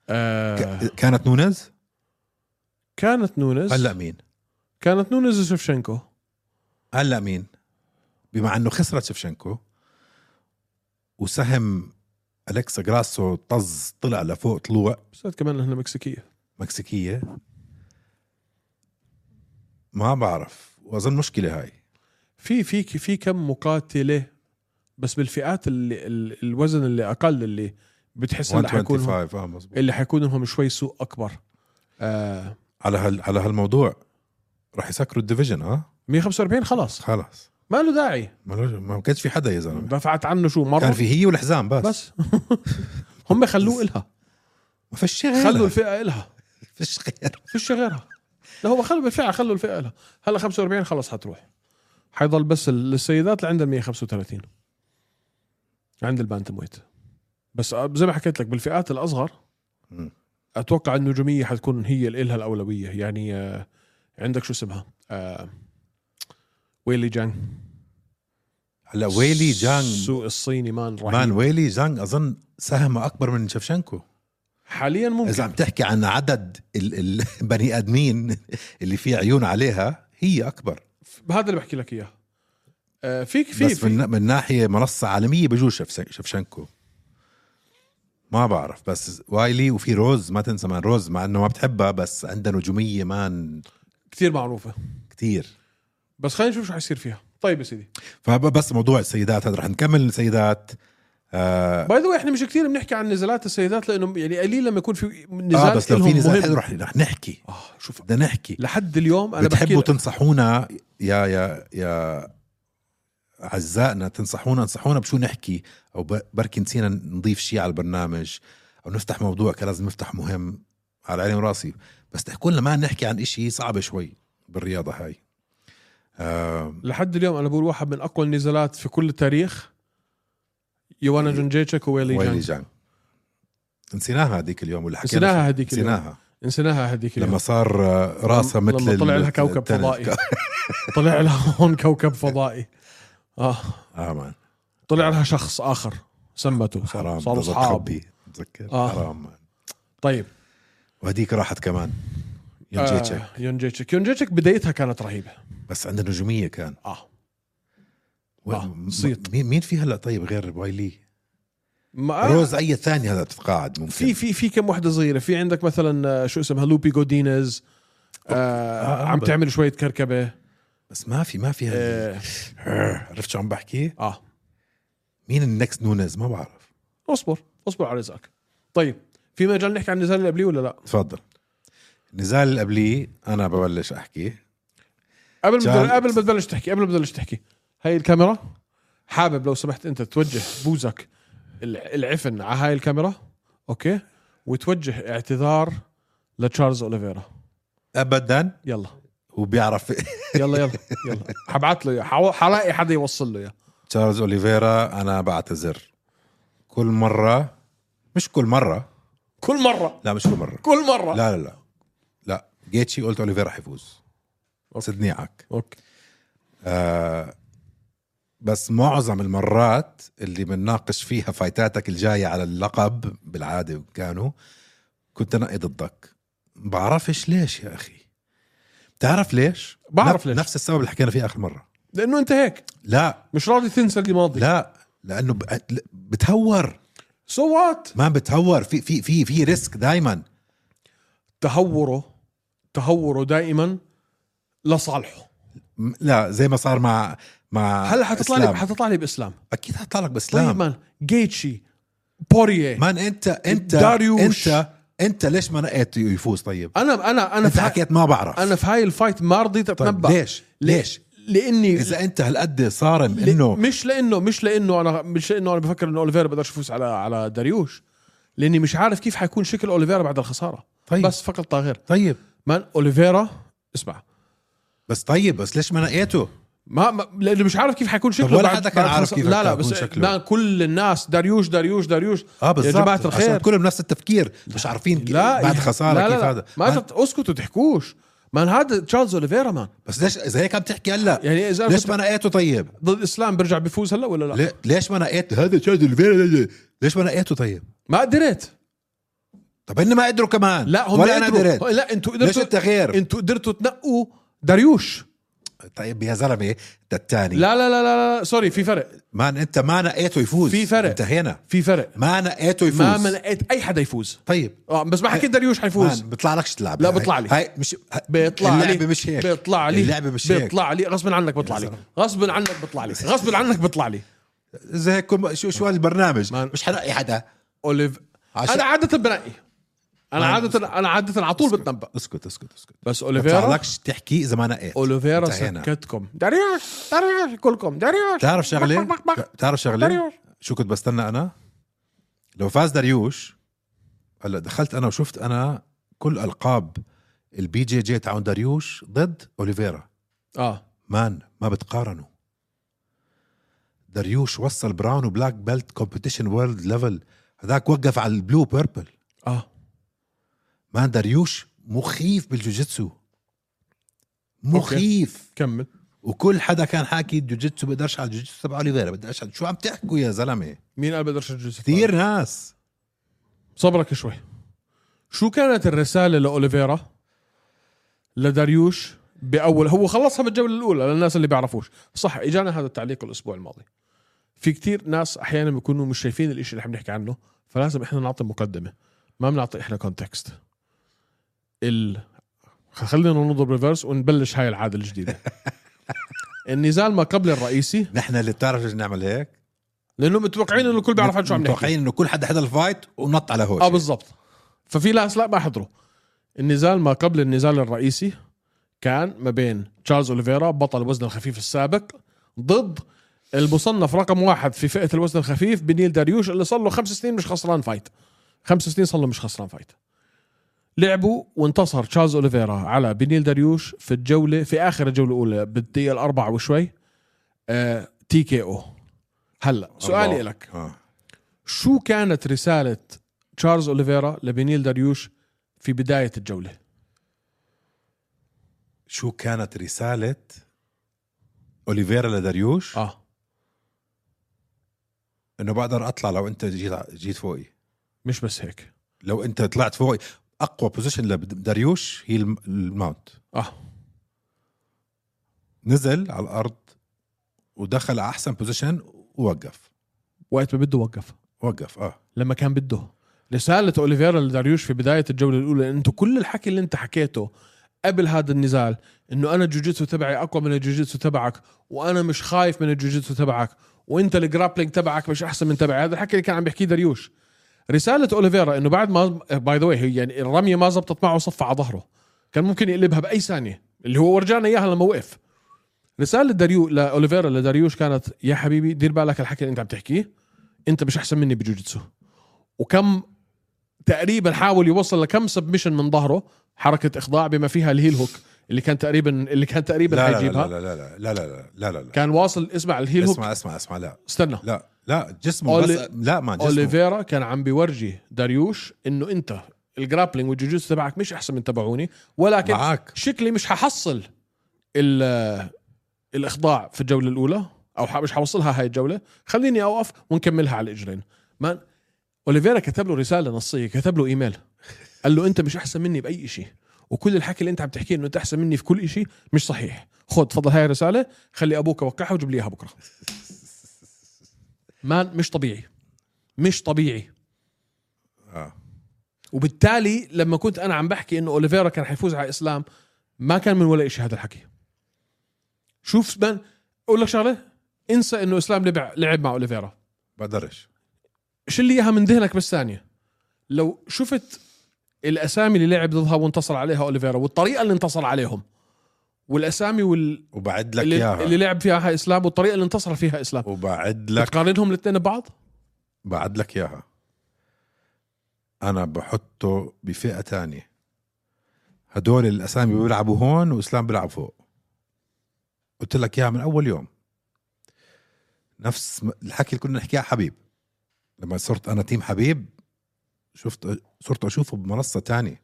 Speaker 1: آه
Speaker 2: كانت نونز؟
Speaker 1: كانت نونز
Speaker 2: هلا مين؟
Speaker 1: كانت نونز وشفشنكو
Speaker 2: هلا مين؟ بما انه خسرت شفشنكو وسهم الكسا جراسو طز طلع لفوق طلوع
Speaker 1: بس كمان انها مكسيكيه
Speaker 2: مكسيكيه ما بعرف واظن مشكله هاي
Speaker 1: في في في كم مقاتله بس بالفئات اللي ال- الوزن اللي اقل اللي بتحس اللي حيكون
Speaker 2: 125 اه مزبوط
Speaker 1: اللي حيكون لهم شوي سوق اكبر آه
Speaker 2: على هال على هالموضوع رح يسكروا الديفيجن اه
Speaker 1: 145 خلاص
Speaker 2: خلص
Speaker 1: ما له داعي
Speaker 2: ما له- ما كانش في حدا يا زلمه
Speaker 1: دفعت عنه شو مره
Speaker 2: كان في هي والحزام بس,
Speaker 1: بس هم خلوه إلها
Speaker 2: ما فيش شيء غيرها.
Speaker 1: خلوا الفئه إلها
Speaker 2: فيش غير
Speaker 1: فيش غيرها لا هو خلوا بالفعل خلوا الفئه إلها هلا 45 خلص حتروح حيضل بس ال- للسيدات اللي عندها 135 عند البانتم ويت بس أ- زي ما حكيت لك بالفئات الاصغر
Speaker 2: مم.
Speaker 1: اتوقع النجوميه حتكون هي اللي إلها الاولويه يعني آه، عندك شو اسمها آه، ويلي جانج
Speaker 2: هلا ويلي جانج
Speaker 1: السوق الصيني مان
Speaker 2: مان
Speaker 1: رهيب
Speaker 2: ويلي جانج اظن سهمه اكبر من شفشنكو
Speaker 1: حاليا
Speaker 2: اذا
Speaker 1: ممكن
Speaker 2: عم تحكي عن عدد ال- البني ادمين اللي في عيون عليها هي اكبر
Speaker 1: هذا اللي بحكي لك اياه آه، فيك في
Speaker 2: بس
Speaker 1: في
Speaker 2: من, من ناحيه منصه عالميه بجوز شفس- شفشنكو ما بعرف بس وايلي وفي روز ما تنسى مان روز مع انه ما بتحبها بس عندها نجوميه مان
Speaker 1: كثير معروفه
Speaker 2: كتير
Speaker 1: بس خلينا نشوف شو حيصير فيها طيب يا سيدي
Speaker 2: فبس موضوع السيدات هذا رح نكمل السيدات آه,
Speaker 1: باي ذا احنا مش كثير بنحكي عن نزالات السيدات لانه يعني قليل لما يكون في نزال
Speaker 2: آه بس لو في
Speaker 1: إلهم
Speaker 2: نزال
Speaker 1: مهم.
Speaker 2: حلو رح, رح نحكي
Speaker 1: آه شوف
Speaker 2: بدنا نحكي
Speaker 1: لحد اليوم انا
Speaker 2: بتحبوا
Speaker 1: بحكي
Speaker 2: تنصحونا يا يا يا اعزائنا تنصحونا انصحونا بشو نحكي او ب- بركي نسينا نضيف شيء على البرنامج او نفتح موضوع كان لازم نفتح مهم على عيني وراسي بس تحكوا لنا ما نحكي عن إشي صعب شوي بالرياضه هاي آه
Speaker 1: لحد اليوم انا بقول واحد من اقوى النزالات في كل التاريخ يوانا
Speaker 2: إيه.
Speaker 1: جون جيتشك وويلي
Speaker 2: ويلي
Speaker 1: جان
Speaker 2: جان نسيناها هذيك اليوم ولا حكينا
Speaker 1: نسيناها
Speaker 2: فيها.
Speaker 1: هذيك اليوم.
Speaker 2: نسيناها
Speaker 1: نسيناها هذيك
Speaker 2: لما
Speaker 1: اليوم.
Speaker 2: صار آه، راسها
Speaker 1: لما
Speaker 2: مثل
Speaker 1: طلع
Speaker 2: ال-
Speaker 1: لها كوكب
Speaker 2: التنس.
Speaker 1: فضائي طلع لها هون كوكب فضائي اه
Speaker 2: اه مان
Speaker 1: طلع لها شخص اخر سمته
Speaker 2: حرام
Speaker 1: صاروا
Speaker 2: ضربت
Speaker 1: اصحاب
Speaker 2: خبي. بتذكر
Speaker 1: آه.
Speaker 2: حرام مان
Speaker 1: طيب
Speaker 2: وهديك راحت كمان ينجيتشك
Speaker 1: آه يون جيتشك يون جيتشك بدايتها كانت رهيبه
Speaker 2: بس عندها نجوميه كان
Speaker 1: اه
Speaker 2: و-
Speaker 1: آه،
Speaker 2: م-
Speaker 1: صيت.
Speaker 2: مين مين في هلا طيب غير وايلي
Speaker 1: ما
Speaker 2: روز اي ثانيه هلا تتقاعد ممكن
Speaker 1: آه. في في في كم وحده صغيره في عندك مثلا آه، شو اسمها لوبي جودينيز آه
Speaker 2: آه،
Speaker 1: عم
Speaker 2: بس-
Speaker 1: تعمل شويه كركبه
Speaker 2: بس ما في ما في هال-
Speaker 1: آه,
Speaker 2: عرفت شو عم بحكي
Speaker 1: اه
Speaker 2: مين النكست نونز ما بعرف
Speaker 1: اصبر اصبر على رزقك طيب في مجال نحكي عن النزال اللي قبليه ولا لا
Speaker 2: تفضل النزال اللي قبليه انا ببلش احكي
Speaker 1: قبل
Speaker 2: جان-
Speaker 1: ما قبل ما تبلش تحكي قبل ما تبلش تحكي هاي الكاميرا حابب لو سمحت انت توجه بوزك الع- العفن على هاي الكاميرا اوكي وتوجه اعتذار لتشارلز اوليفيرا
Speaker 2: ابدا
Speaker 1: يلا
Speaker 2: هو بيعرف
Speaker 1: يلا يلا يلا حبعت له إياه. حو- حلاقي حدا يوصل له اياه
Speaker 2: تشارلز اوليفيرا انا بعتذر كل مره مش كل مره
Speaker 1: كل مره
Speaker 2: لا مش كل مره
Speaker 1: كل مره
Speaker 2: لا لا لا لا جيتشي قلت اوليفيرا حيفوز
Speaker 1: أوكي.
Speaker 2: صدني عك
Speaker 1: اوكي
Speaker 2: آه، بس معظم المرات اللي بنناقش فيها فايتاتك الجاية على اللقب بالعادة كانوا كنت أنقي ضدك بعرفش ليش يا أخي بتعرف ليش؟
Speaker 1: بعرف
Speaker 2: نف-
Speaker 1: ليش.
Speaker 2: نفس السبب اللي حكينا فيه آخر مرة
Speaker 1: لانه انت هيك
Speaker 2: لا
Speaker 1: مش راضي تنسى الماضي
Speaker 2: لا لأنه ب- بتهور
Speaker 1: سو وات
Speaker 2: ما بتهور في في في في ريسك دائما
Speaker 1: تهوره تهوره دائما لصالحه
Speaker 2: لا زي ما صار مع مع
Speaker 1: هلا حتطلع لي
Speaker 2: إسلام.
Speaker 1: حتطلع لي باسلام
Speaker 2: اكيد حطلع لك
Speaker 1: طيب
Speaker 2: باسلام
Speaker 1: مان جيتشي بوريه
Speaker 2: مان انت انت
Speaker 1: داريوش.
Speaker 2: انت انت ليش ما نقيت يفوز طيب؟
Speaker 1: انا انا انا
Speaker 2: انت
Speaker 1: في ه-
Speaker 2: حكيت ما بعرف
Speaker 1: انا في هاي الفايت ما رضيت
Speaker 2: طيب
Speaker 1: اتنبا
Speaker 2: ليش؟ ليش؟
Speaker 1: لاني
Speaker 2: اذا انت هالقد صارم انه
Speaker 1: مش لانه مش لانه انا مش لانه انا بفكر انه اوليفيرا بقدرش يفوز على على داريوش لاني مش عارف كيف حيكون شكل اوليفيرا بعد الخساره
Speaker 2: طيب.
Speaker 1: بس فقط طاغير
Speaker 2: طيب
Speaker 1: مان اوليفيرا اسمع
Speaker 2: بس طيب بس ليش ما نقيته؟
Speaker 1: ما, ما لانه مش عارف كيف حيكون شكله
Speaker 2: ولا
Speaker 1: بعد-
Speaker 2: حدا كان
Speaker 1: بعد
Speaker 2: عارف
Speaker 1: خسارة.
Speaker 2: كيف
Speaker 1: لا لا
Speaker 2: حيكون
Speaker 1: بس
Speaker 2: شكله.
Speaker 1: لا كل الناس داريوش داريوش داريوش
Speaker 2: اه بالضبط
Speaker 1: يا جماعه
Speaker 2: عشان
Speaker 1: الخير
Speaker 2: كلهم نفس التفكير مش عارفين كي-
Speaker 1: لا
Speaker 2: بعد
Speaker 1: يا-
Speaker 2: خساره
Speaker 1: لا لا
Speaker 2: كيف
Speaker 1: لا.
Speaker 2: هذا
Speaker 1: ما
Speaker 2: ما
Speaker 1: أنت اسكتوا تحكوش مان هذا تشارلز اوليفيرا مان
Speaker 2: آه، بس ليش اذا هيك عم تحكي هلا
Speaker 1: يعني اذا أنا
Speaker 2: ليش
Speaker 1: كنت
Speaker 2: ما نقيته طيب؟
Speaker 1: ضد اسلام برجع بفوز هلا ولا لا
Speaker 2: لي- ليش ما نقيت هذا تشارلز اوليفيرا ليش ما نقيته طيب؟
Speaker 1: ما قدرت
Speaker 2: طب هن ما قدروا كمان
Speaker 1: لا هم
Speaker 2: ولا انا
Speaker 1: قدروا.
Speaker 2: قدرت
Speaker 1: لا انتوا
Speaker 2: ليش
Speaker 1: قدرتوا
Speaker 2: انت غير؟
Speaker 1: انتوا قدرتوا تنقوا داريوش
Speaker 2: طيب يا زلمه انت الثاني
Speaker 1: لا لا لا لا, لا. سوري في فرق
Speaker 2: مان انت ما نقيته يفوز
Speaker 1: في فرق.
Speaker 2: انتهينا
Speaker 1: في فرق
Speaker 2: ما نقيته يفوز
Speaker 1: ما منقيت اي حدا يفوز
Speaker 2: طيب
Speaker 1: اه بس ما حكيت داريوش حيفوز
Speaker 2: مان بيطلع لكش تلعب
Speaker 1: لا
Speaker 2: هاي-
Speaker 1: بيطلع لي.
Speaker 2: هاي مش ه-
Speaker 1: بيطلع لي
Speaker 2: اللعبة مش هيك
Speaker 1: بيطلع لي
Speaker 2: اللعبة مش هيك
Speaker 1: بيطلع لي غصب عنك بيطلع لي غصب عنك بيطلع لي غصب عنك بيطلع لي
Speaker 2: اذا هيك كم- شو شو هالبرنامج
Speaker 1: مان.
Speaker 2: مش حنقي حدا
Speaker 1: اوليف
Speaker 2: عشان-
Speaker 1: انا عاده بنقي انا
Speaker 2: مان،
Speaker 1: عاده انا عاده على طول بتنبأ
Speaker 2: اسكت اسكت اسكت
Speaker 1: بس
Speaker 2: ما
Speaker 1: اوليفيرا
Speaker 2: لكش تحكي اذا ما نقيت
Speaker 1: اوليفيرا
Speaker 2: انتهينا.
Speaker 1: سكتكم داريوش داريوش كلكم داريوش
Speaker 2: بتعرف شغله
Speaker 1: بك- بك- بك.
Speaker 2: بتعرف شغله
Speaker 1: داريوش
Speaker 2: شو كنت بستنى انا لو فاز داريوش هلا دخلت انا وشفت انا كل القاب البي جي جي تاعون داريوش ضد اوليفيرا
Speaker 1: اه
Speaker 2: مان ما بتقارنوا داريوش وصل براون وبلاك بيلت كومبيتيشن وورلد ليفل هذاك وقف على البلو بيربل
Speaker 1: اه
Speaker 2: مان داريوش مخيف بالجوجيتسو مخيف
Speaker 1: كمل
Speaker 2: وكل حدا كان حاكي الجوجيتسو بقدرش على الجوجيتسو تبع اوليفيرا بقدرش على شو عم تحكوا يا زلمه
Speaker 1: مين قال بقدرش اجلس
Speaker 2: كثير ناس
Speaker 1: صبرك شوي شو كانت الرسالة لأوليفيرا لداريوش بأول هو خلصها بالجولة الأولى للناس اللي بيعرفوش صح إجانا هذا التعليق الأسبوع الماضي في كتير ناس أحيانا بيكونوا مش شايفين الإشي اللي عم نحكي عنه فلازم إحنا نعطي مقدمة ما بنعطي إحنا كونتكست ال خلينا نضرب ريفرس ونبلش هاي العادة الجديدة النزال ما قبل الرئيسي
Speaker 2: نحن اللي بتعرف ليش نعمل هيك
Speaker 1: لانه متوقعين انه الكل بيعرف عن شو عم نحكي
Speaker 2: متوقعين انه كل حدا حدا الفايت ونط على هوش
Speaker 1: اه بالضبط ففي ناس لا ما حضروا النزال ما قبل النزال الرئيسي كان ما بين تشارلز اوليفيرا بطل الوزن الخفيف السابق ضد المصنف رقم واحد في فئه الوزن الخفيف بنيل داريوش اللي صار له خمس سنين مش خسران فايت خمس سنين صار له مش خسران فايت لعبوا وانتصر تشارلز اوليفيرا على بنيل داريوش في الجوله في اخر الجوله الاولى بالدقيقه الاربعه وشوي آه تي كي او هلا سؤالي لك
Speaker 2: آه.
Speaker 1: شو كانت رسالة تشارلز اوليفيرا لبنيل داريوش في بداية الجولة؟
Speaker 2: شو كانت رسالة اوليفيرا لداريوش
Speaker 1: اه
Speaker 2: انه بقدر اطلع لو انت جيت جيت فوقي
Speaker 1: مش بس هيك
Speaker 2: لو انت طلعت فوقي اقوى بوزيشن لداريوش هي الم- الماونت
Speaker 1: اه
Speaker 2: نزل على الارض ودخل على احسن بوزيشن ووقف
Speaker 1: وقت ما بده وقف
Speaker 2: وقف اه
Speaker 1: لما كان بده رسالة اوليفيرا لداريوش في بداية الجولة الأولى أنتوا كل الحكي اللي أنت حكيته قبل هذا النزال انه انا الجوجيتسو تبعي اقوى من الجوجيتسو تبعك وانا مش خايف من الجوجيتسو تبعك وانت الجرابلينج تبعك مش احسن من تبعي هذا الحكي اللي كان عم بيحكيه داريوش رساله اوليفيرا انه بعد ما باي ذا واي يعني الرميه ما زبطت معه صفى على ظهره كان ممكن يقلبها باي ثانيه اللي هو ورجانا اياها لما وقف رساله داريو لاوليفيرا لداريوش كانت يا حبيبي دير بالك الحكي اللي انت عم تحكيه انت مش احسن مني بجوجيتسو وكم تقريبا حاول يوصل لكم سبمشن من ظهره حركه اخضاع بما فيها الهيل هوك اللي كان تقريبا اللي كان تقريبا
Speaker 2: لا لا
Speaker 1: حيجيبها
Speaker 2: لا لا لا لا لا لا لا لا لا
Speaker 1: كان واصل اسمع الهيل هوك
Speaker 2: اسمع اسمع اسمع لا
Speaker 1: استنى
Speaker 2: لا لا جسمه بس
Speaker 1: أولي-
Speaker 2: لا ما جسمه
Speaker 1: اوليفيرا كان عم بيورجي داريوش انه انت الجرابلينج والجوجيتسو تبعك مش احسن من تبعوني ولكن
Speaker 2: معك
Speaker 1: شكلي مش ححصل ال- الاخضاع في الجوله الاولى او ح- مش حوصلها هاي الجوله خليني اوقف ونكملها على الاجرين مان اوليفيرا كتب له رساله نصيه كتب له ايميل قال له انت مش احسن مني باي شيء وكل الحكي اللي انت عم تحكيه انه انت احسن مني في كل شيء مش صحيح خذ تفضل هاي الرساله خلي ابوك يوقعها وجيب لي اياها بكره مان مش طبيعي مش طبيعي
Speaker 2: آه.
Speaker 1: وبالتالي لما كنت انا عم بحكي انه اوليفيرا كان حيفوز على اسلام ما كان من ولا شيء هذا الحكي شوف من اقول لك شغله انسى انه اسلام لعب لعب مع اوليفيرا
Speaker 2: بقدرش
Speaker 1: شيل لي اياها من ذهنك بس ثانيه لو شفت الاسامي اللي لعب ضدها وانتصر عليها اوليفيرا والطريقه اللي انتصر عليهم والاسامي وال...
Speaker 2: وبعد لك
Speaker 1: اللي, اللي
Speaker 2: اياها
Speaker 1: لعب فيها اسلام والطريقه اللي انتصر فيها اسلام
Speaker 2: وبعد لك
Speaker 1: بتقارنهم الاثنين ببعض
Speaker 2: بعد لك اياها انا بحطه بفئه تانية هدول الاسامي بيلعبوا هون واسلام بيلعب فوق قلت لك اياها من اول يوم نفس م- الحكي اللي كنا نحكيه على حبيب لما صرت انا تيم حبيب شفت صرت اشوفه بمنصه تانية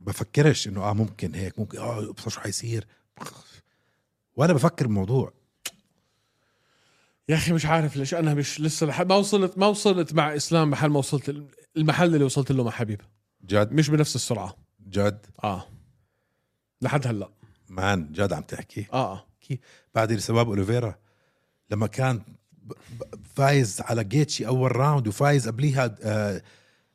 Speaker 2: بفكرش انه اه ممكن هيك ممكن اه ابصر شو حيصير ولا بفكر بالموضوع
Speaker 1: يا اخي مش عارف ليش انا مش لسه لح... ما وصلت ما وصلت مع اسلام محل ما وصلت المحل اللي وصلت له مع حبيب
Speaker 2: جد
Speaker 1: مش بنفس السرعه
Speaker 2: جد
Speaker 1: اه لحد هلا
Speaker 2: مان جد عم تحكي
Speaker 1: اه اه
Speaker 2: كي- بعد الشباب اوليفيرا لما كان ب- ب- فايز على جيتشي اول راوند وفايز قبليها آه،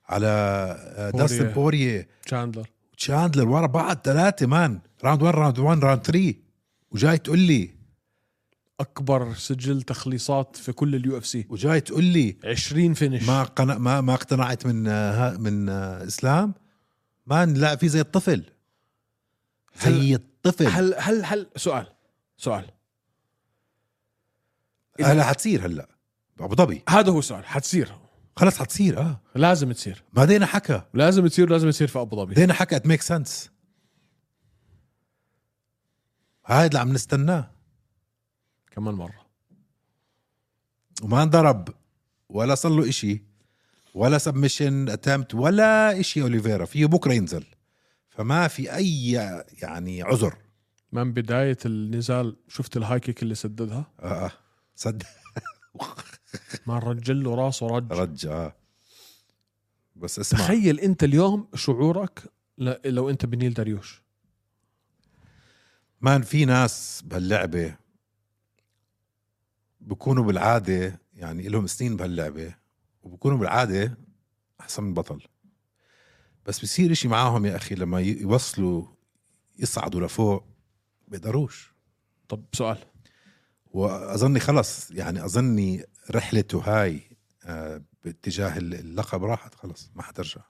Speaker 2: على آه،
Speaker 1: بوريه.
Speaker 2: داستن بوريه
Speaker 1: تشاندلر
Speaker 2: تشاندلر ورا بعض ثلاثه مان راوند 1 راوند 1 راوند 3 وجاي تقول لي
Speaker 1: اكبر سجل تخليصات في كل اليو اف سي
Speaker 2: وجاي تقول لي
Speaker 1: 20 فينش
Speaker 2: ما قنا ما ما اقتنعت من آه، ها- من آه، اسلام مان لا في زي الطفل زي الطفل
Speaker 1: هل هل هل سؤال سؤال
Speaker 2: هلا حتصير هلا ابو ظبي
Speaker 1: هذا هو السؤال حتصير
Speaker 2: خلص حتصير اه
Speaker 1: لازم تصير
Speaker 2: بعدين حكى
Speaker 1: لازم تصير لازم تصير في ابو ظبي
Speaker 2: دينا حكت ميك سنس هاي اللي عم نستناه
Speaker 1: كمان مره
Speaker 2: وما انضرب ولا صار له شيء ولا سبمشن اتمت ولا شيء اوليفيرا فيه بكره ينزل فما في اي يعني عذر
Speaker 1: من بدايه النزال شفت الهاي كيك اللي سددها
Speaker 2: اه آه. صدق
Speaker 1: ما رجل له راسه رج
Speaker 2: رجع بس اسمع
Speaker 1: تخيل انت اليوم شعورك ل- لو انت بنيل داريوش
Speaker 2: مان في ناس بهاللعبة بكونوا بالعادة يعني لهم سنين بهاللعبة وبكونوا بالعادة أحسن من بطل بس بصير إشي معاهم يا أخي لما ي- يوصلوا يصعدوا لفوق بيقدروش
Speaker 1: طب سؤال
Speaker 2: واظني خلص يعني اظني رحلته هاي آه، باتجاه ال- اللقب راحت خلص ما حترجع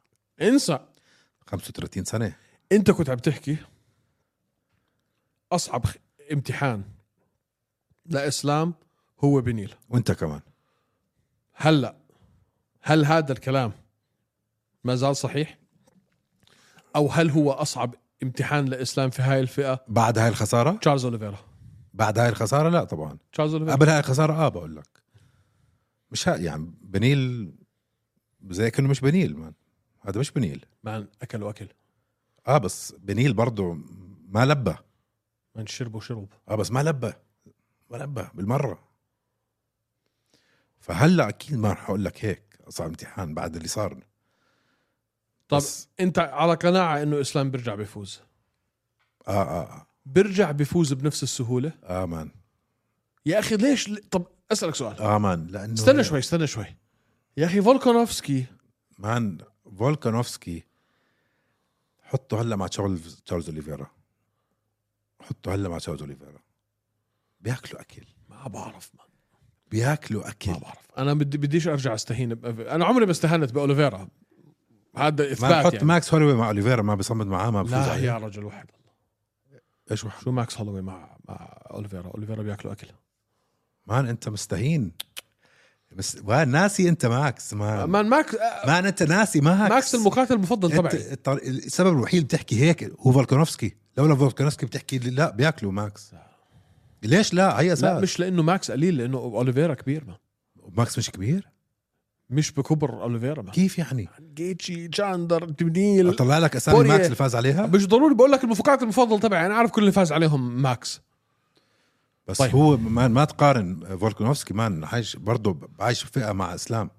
Speaker 1: انسى
Speaker 2: 35 سنه
Speaker 1: انت كنت عم تحكي اصعب خ- امتحان لاسلام هو بنيل
Speaker 2: وانت كمان
Speaker 1: هلا هل هذا الكلام ما زال صحيح او هل هو اصعب امتحان لاسلام في هاي الفئه
Speaker 2: بعد هاي الخساره
Speaker 1: تشارلز اوليفيرا
Speaker 2: بعد هاي الخساره لا طبعا
Speaker 1: تشارلز اوليفيرا
Speaker 2: قبل هاي الخساره اه بقول لك مش ها يعني بنيل زي كانه مش بنيل مان هذا مش بنيل
Speaker 1: مان اكل واكل
Speaker 2: اه بس بنيل برضه ما لبى
Speaker 1: مان شرب وشرب
Speaker 2: اه بس ما لبى ما لبى بالمره فهلا اكيد ما رح اقول لك هيك صار امتحان بعد اللي صار
Speaker 1: طب
Speaker 2: بس-
Speaker 1: انت على قناعه انه اسلام بيرجع بيفوز
Speaker 2: اه اه
Speaker 1: بيرجع بيفوز بنفس السهوله
Speaker 2: اه, آه مان
Speaker 1: يا اخي ليش طب اسالك سؤال
Speaker 2: اه مان لانه
Speaker 1: استنى شوي استنى شوي يا اخي فولكانوفسكي
Speaker 2: مان فولكانوفسكي حطه هلا مع تشارلز تشارلز اوليفيرا حطه هلا مع تشارلز اوليفيرا بياكلوا اكل
Speaker 1: ما بعرف ما
Speaker 2: بياكلوا اكل
Speaker 1: ما بعرف انا بدي بديش ارجع استهين ب... انا عمري ما استهنت باوليفيرا هذا
Speaker 2: ما
Speaker 1: اثبات
Speaker 2: نحط
Speaker 1: يعني.
Speaker 2: ماكس هولوي مع اوليفيرا ما بيصمد معاه ما بفوز
Speaker 1: لا
Speaker 2: عليه
Speaker 1: يا رجل واحد
Speaker 2: ايش وح-
Speaker 1: شو ماكس هولوي مع مع اوليفيرا اوليفيرا بياكلوا اكل
Speaker 2: مان انت مستهين بس مان ناسي انت ماكس مان
Speaker 1: مان ماكس آه،
Speaker 2: مان انت ناسي ماكس
Speaker 1: ماكس المقاتل المفضل
Speaker 2: انت
Speaker 1: تبعي
Speaker 2: الطر- السبب الوحيد اللي بتحكي هيك هو فولكانوفسكي لولا فولكانوفسكي بتحكي لي لا بياكلوا ماكس ليش لا هي
Speaker 1: لا
Speaker 2: اساس
Speaker 1: مش لانه ماكس قليل لانه اوليفيرا كبير ما.
Speaker 2: ماكس مش كبير
Speaker 1: مش بكبر اوليفيرا ما.
Speaker 2: كيف يعني
Speaker 1: جيتشي جاندر دبنيل
Speaker 2: اطلع لك اسامي
Speaker 1: بوريه.
Speaker 2: ماكس اللي فاز عليها
Speaker 1: مش ضروري بقول لك المفقات المفضل تبعي انا عارف كل اللي فاز عليهم ماكس
Speaker 2: بس
Speaker 1: طيب.
Speaker 2: طيب. هو ما, ما تقارن فولكانوفسكي مان عايش برضه عايش في فئه مع اسلام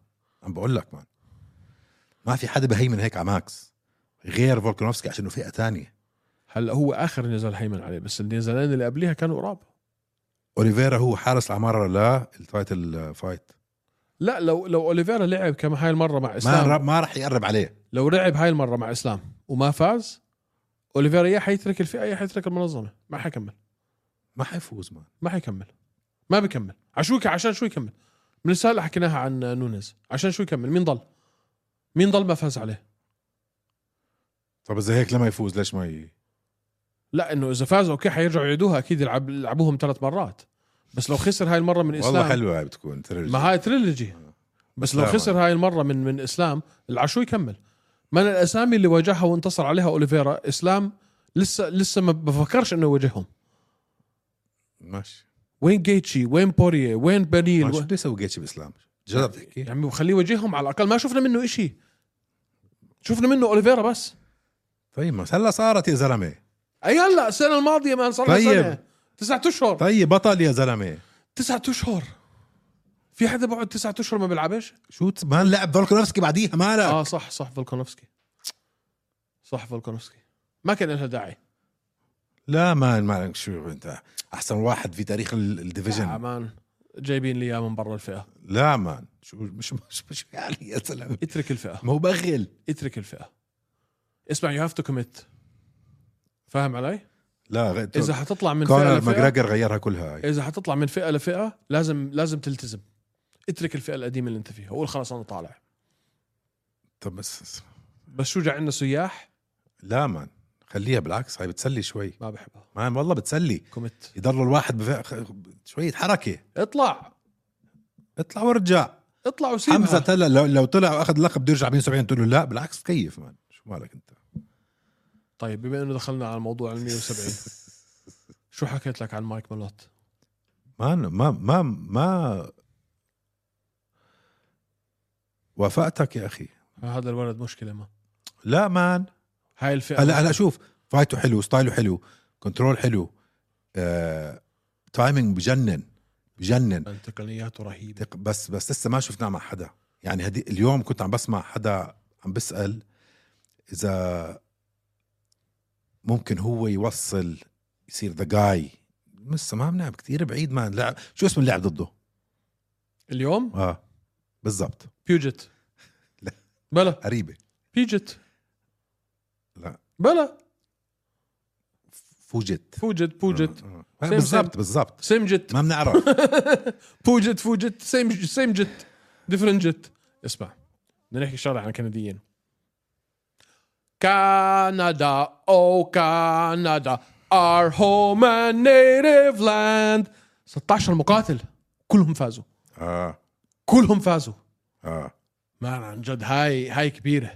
Speaker 2: عم بقول لك مان ما في حدا بهيمن هيك على ماكس غير فولكانوفسكي عشان إنه فئه تانية
Speaker 1: هلا هو اخر نزال هيمن عليه بس النزالين اللي قبليها كانوا قراب
Speaker 2: اوليفيرا هو حارس العماره لا التايتل فايت
Speaker 1: لا لو لو اوليفيرا لعب كما هاي المره مع
Speaker 2: ما
Speaker 1: اسلام
Speaker 2: ر- ما راح يقرب عليه
Speaker 1: لو لعب هاي المره مع اسلام وما فاز اوليفيرا يا حيترك الفئه يا حيترك المنظمه ما حيكمل
Speaker 2: ما حيفوز مان
Speaker 1: ما حيكمل ما بكمل عشو ك- عشان شو يكمل من السنه اللي حكيناها عن نونيز عشان شو يكمل مين ضل مين ضل ما فاز عليه
Speaker 2: طب اذا هيك لما يفوز ليش ما ي...
Speaker 1: لا انه اذا فاز اوكي حيرجعوا يعيدوها اكيد يلعب يلعبوهم ثلاث مرات بس لو خسر هاي المره من اسلام
Speaker 2: والله حلوه هاي بتكون تريلوجي.
Speaker 1: ما هاي تريلوجي
Speaker 2: آه.
Speaker 1: بس لو
Speaker 2: لا، ما-
Speaker 1: خسر هاي المره من من اسلام العشو يكمل من الاسامي اللي واجهها وانتصر عليها اوليفيرا اسلام لسه لسه ما بفكرش انه يواجههم
Speaker 2: ماشي
Speaker 1: وين جيتشي وين بوريه وين بنيل
Speaker 2: ما شو
Speaker 1: و...
Speaker 2: بده يسوي جيتشي باسلام جرب تحكي
Speaker 1: يعني خليه يواجههم على الاقل ما شفنا منه إشي شفنا منه اوليفيرا بس
Speaker 2: طيب ما هلا صارت يا زلمه
Speaker 1: اي هلا السنه الماضيه ما صار طيب.
Speaker 2: طيب.
Speaker 1: سنه تسعة اشهر طيب.
Speaker 2: طيب بطل يا زلمه
Speaker 1: تسعة اشهر في حدا بقعد تسعة اشهر ما بيلعبش؟
Speaker 2: شو تس- ما لعب فولكانوفسكي بعديها مالك
Speaker 1: اه صح صح فولكانوفسكي صح فولكانوفسكي ما كان لها داعي
Speaker 2: لا ما ما شو انت احسن واحد في تاريخ ال-
Speaker 1: يا
Speaker 2: الديفيجن
Speaker 1: مان جايبين لي اياه من برا الفئه
Speaker 2: لا مان شو مش مش, مش يعني يا زلمه
Speaker 1: اترك الفئه
Speaker 2: ما هو بغل
Speaker 1: اترك الفئه اسمع يو هاف تو كوميت فاهم علي؟
Speaker 2: لا غ...
Speaker 1: اذا حتطلع من فئه
Speaker 2: كونر
Speaker 1: لفئه
Speaker 2: ماجراجر غيرها كلها هاي
Speaker 1: اذا حتطلع من فئه لفئه لازم لازم تلتزم اترك الفئه القديمه اللي انت فيها وقول خلاص انا طالع
Speaker 2: طب بس
Speaker 1: بس شو عندنا سياح
Speaker 2: لا مان خليها بالعكس هاي بتسلي شوي
Speaker 1: ما بحبها
Speaker 2: مان والله بتسلي
Speaker 1: كوميت
Speaker 2: يضل الواحد بف... خ- شويه حركه
Speaker 1: اطلع
Speaker 2: اطلع وارجع
Speaker 1: اطلع وسيبها
Speaker 2: حمزه هلا لو, لو طلع واخذ اللقب بده يرجع 170 تقول له لا بالعكس كيف مان شو مالك انت
Speaker 1: طيب بما انه دخلنا على موضوع ال 170 شو حكيت لك عن مايك ملوت
Speaker 2: ما ما ما ما وافقتك يا اخي
Speaker 1: هذا الولد مشكله ما
Speaker 2: لا مان
Speaker 1: هاي الفئه
Speaker 2: هلا هلا شوف فايته حلو ستايله حلو كنترول حلو آه، تايمينج بجنن بجنن
Speaker 1: تقنياته رهيبه
Speaker 2: تق- بس بس لسه ما شفناه مع حدا يعني هدي اليوم كنت عم بسمع حدا عم بسأل اذا ممكن هو يوصل يصير ذا جاي لسه ما بنلعب كثير بعيد ما لعب شو اسم اللاعب ضده
Speaker 1: اليوم
Speaker 2: اه بالضبط
Speaker 1: بيوجت
Speaker 2: لا.
Speaker 1: بلا
Speaker 2: قريبه
Speaker 1: بيجت
Speaker 2: لا
Speaker 1: بلا
Speaker 2: فوجت
Speaker 1: فوجت فوجت
Speaker 2: آه،
Speaker 1: same,
Speaker 2: بالضبط
Speaker 1: same.
Speaker 2: بالضبط
Speaker 1: سمجت
Speaker 2: ما بنعرف
Speaker 1: فوجت فوجت سيم سيمجت ديفرنجت اسمع بدنا نحكي شغله عن الكنديين كندا او كندا Oh, our home and native land 16 مقاتل كلهم فازوا
Speaker 2: اه
Speaker 1: كلهم فازوا
Speaker 2: اه
Speaker 1: مان عن جد هاي هاي كبيره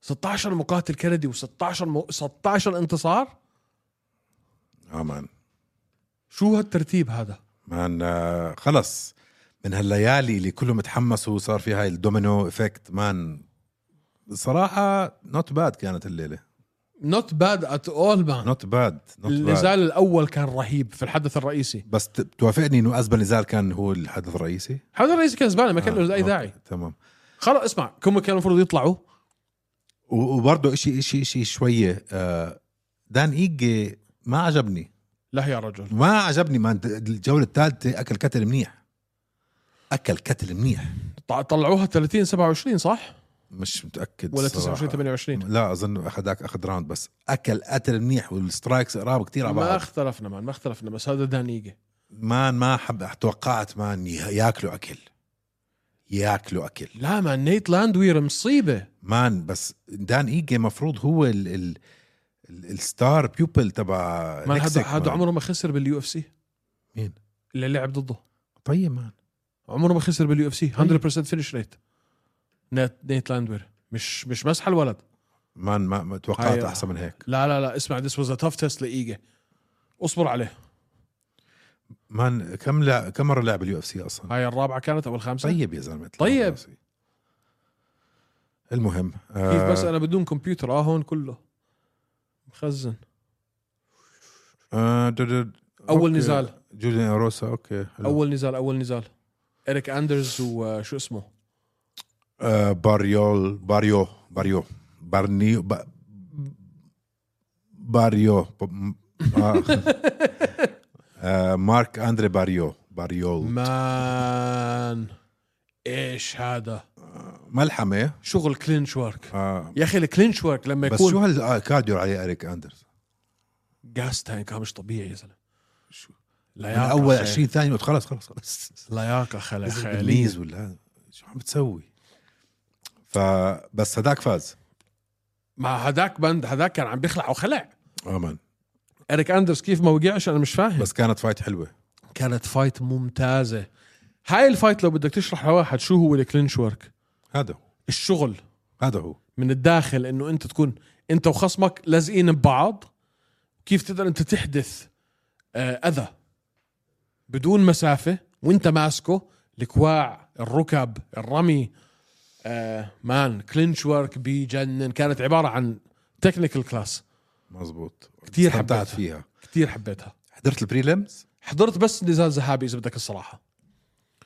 Speaker 1: 16 مقاتل كندي و16 م... 16 انتصار
Speaker 2: اه مان
Speaker 1: شو هالترتيب هذا
Speaker 2: مان آه، خلص من هالليالي اللي كلهم تحمسوا صار في هاي الدومينو افكت مان صراحة نوت باد كانت الليلة
Speaker 1: نوت باد ات اول مان
Speaker 2: نوت باد نوت باد
Speaker 1: النزال الاول كان رهيب في الحدث الرئيسي
Speaker 2: بس ت- توافقني انه ازبل نزال كان هو الحدث الرئيسي
Speaker 1: هذا الرئيس كان زباله ما كان
Speaker 2: آه،
Speaker 1: له اي
Speaker 2: أوكي،
Speaker 1: داعي
Speaker 2: تمام
Speaker 1: خلاص اسمع هم كانوا المفروض يطلعوا
Speaker 2: و- وبرضه اشي اشي اشي شوية آه، دان ايجي ما عجبني
Speaker 1: لا يا رجل
Speaker 2: ما عجبني ما الجولة الثالثة اكل كتل منيح اكل كتل منيح
Speaker 1: طع- طلعوها 30 27 صح
Speaker 2: مش متأكد
Speaker 1: ولا
Speaker 2: صراحة.
Speaker 1: 29 28
Speaker 2: لا اظن اخذ اخذ راوند بس اكل قتل منيح والسترايكس قراب كتير على
Speaker 1: ما
Speaker 2: بعض
Speaker 1: اختلفنا مان ما اختلفنا بس هذا دانيجا
Speaker 2: مان ما حب توقعت مان ي- ياكلوا اكل ياكلوا اكل
Speaker 1: لا مان نيت لاندوير مصيبه
Speaker 2: مان بس دان ايجي مفروض هو ال ال ال الستار بيوبل تبع
Speaker 1: مان هذا
Speaker 2: نكسك،
Speaker 1: هذا
Speaker 2: مان.
Speaker 1: عمره ما خسر باليو اف سي
Speaker 2: مين؟
Speaker 1: اللي لعب ضده
Speaker 2: طيب مان
Speaker 1: عمره ما خسر باليو اف
Speaker 2: طيب.
Speaker 1: سي 100% فينش ريت نيت نيت لاندوير مش مش مسح الولد
Speaker 2: مان ما, ما توقعت
Speaker 1: هاي-
Speaker 2: احسن من هيك
Speaker 1: لا لا لا اسمع ذس واز تاف تيست لايجا اصبر عليه
Speaker 2: مان كم لا كم مره لعب اليو اف سي اصلا
Speaker 1: هاي الرابعه كانت او الخامسه
Speaker 2: طيب يا زلمه
Speaker 1: طيب.
Speaker 2: المهم آه،
Speaker 1: كيف بس انا بدون كمبيوتر اه هون كله مخزن
Speaker 2: آه دو- دو-
Speaker 1: أول
Speaker 2: أوكي.
Speaker 1: نزال.
Speaker 2: جوليان روسا اوكي حلو.
Speaker 1: اول نزال اول نزال اريك اندرز وشو اسمه
Speaker 2: آه، باريول باريو باريو بارنيو ب... باريو ب... آه. آه، مارك اندري باريو باريول
Speaker 1: مان ايش هذا
Speaker 2: ملحمه
Speaker 1: شغل كلينش ورك
Speaker 2: آه.
Speaker 1: يا اخي الكلينش ورك لما
Speaker 2: eh. بس شو آه،
Speaker 1: يكون
Speaker 2: هالكارديو عليه اريك اندرز
Speaker 1: جاس تانك مش طبيعي يا زلمه
Speaker 2: شو؟ من
Speaker 1: لياقه
Speaker 2: اول
Speaker 1: خيال.
Speaker 2: 20 ثانيه قلت خلص خلص خلص
Speaker 1: لياقه خلا-
Speaker 2: نزل
Speaker 1: خياليه
Speaker 2: بالميز ولا هذا. شو عم بتسوي فبس هداك فاز
Speaker 1: مع هذاك بند هذاك كان عم بيخلع وخلع
Speaker 2: امان
Speaker 1: اريك اندرز كيف ما وقعش انا مش فاهم
Speaker 2: بس كانت فايت حلوه
Speaker 1: كانت فايت ممتازه هاي الفايت لو بدك تشرح لواحد شو هو الكلينش ورك
Speaker 2: هذا هو
Speaker 1: الشغل
Speaker 2: هذا هو
Speaker 1: من الداخل انه انت تكون انت وخصمك لازقين ببعض كيف تقدر انت تحدث آه، اذى بدون مسافه وانت ماسكه الكواع الركب الرمي آه، مان كلينش ورك بيجنن كانت عباره عن تكنيكال كلاس
Speaker 2: مزبوط
Speaker 1: كتير
Speaker 2: استمتعت
Speaker 1: حبيتها.
Speaker 2: فيها
Speaker 1: كثير حبيتها
Speaker 2: حضرت البريلمز
Speaker 1: حضرت بس نزال ذهابي اذا بدك الصراحه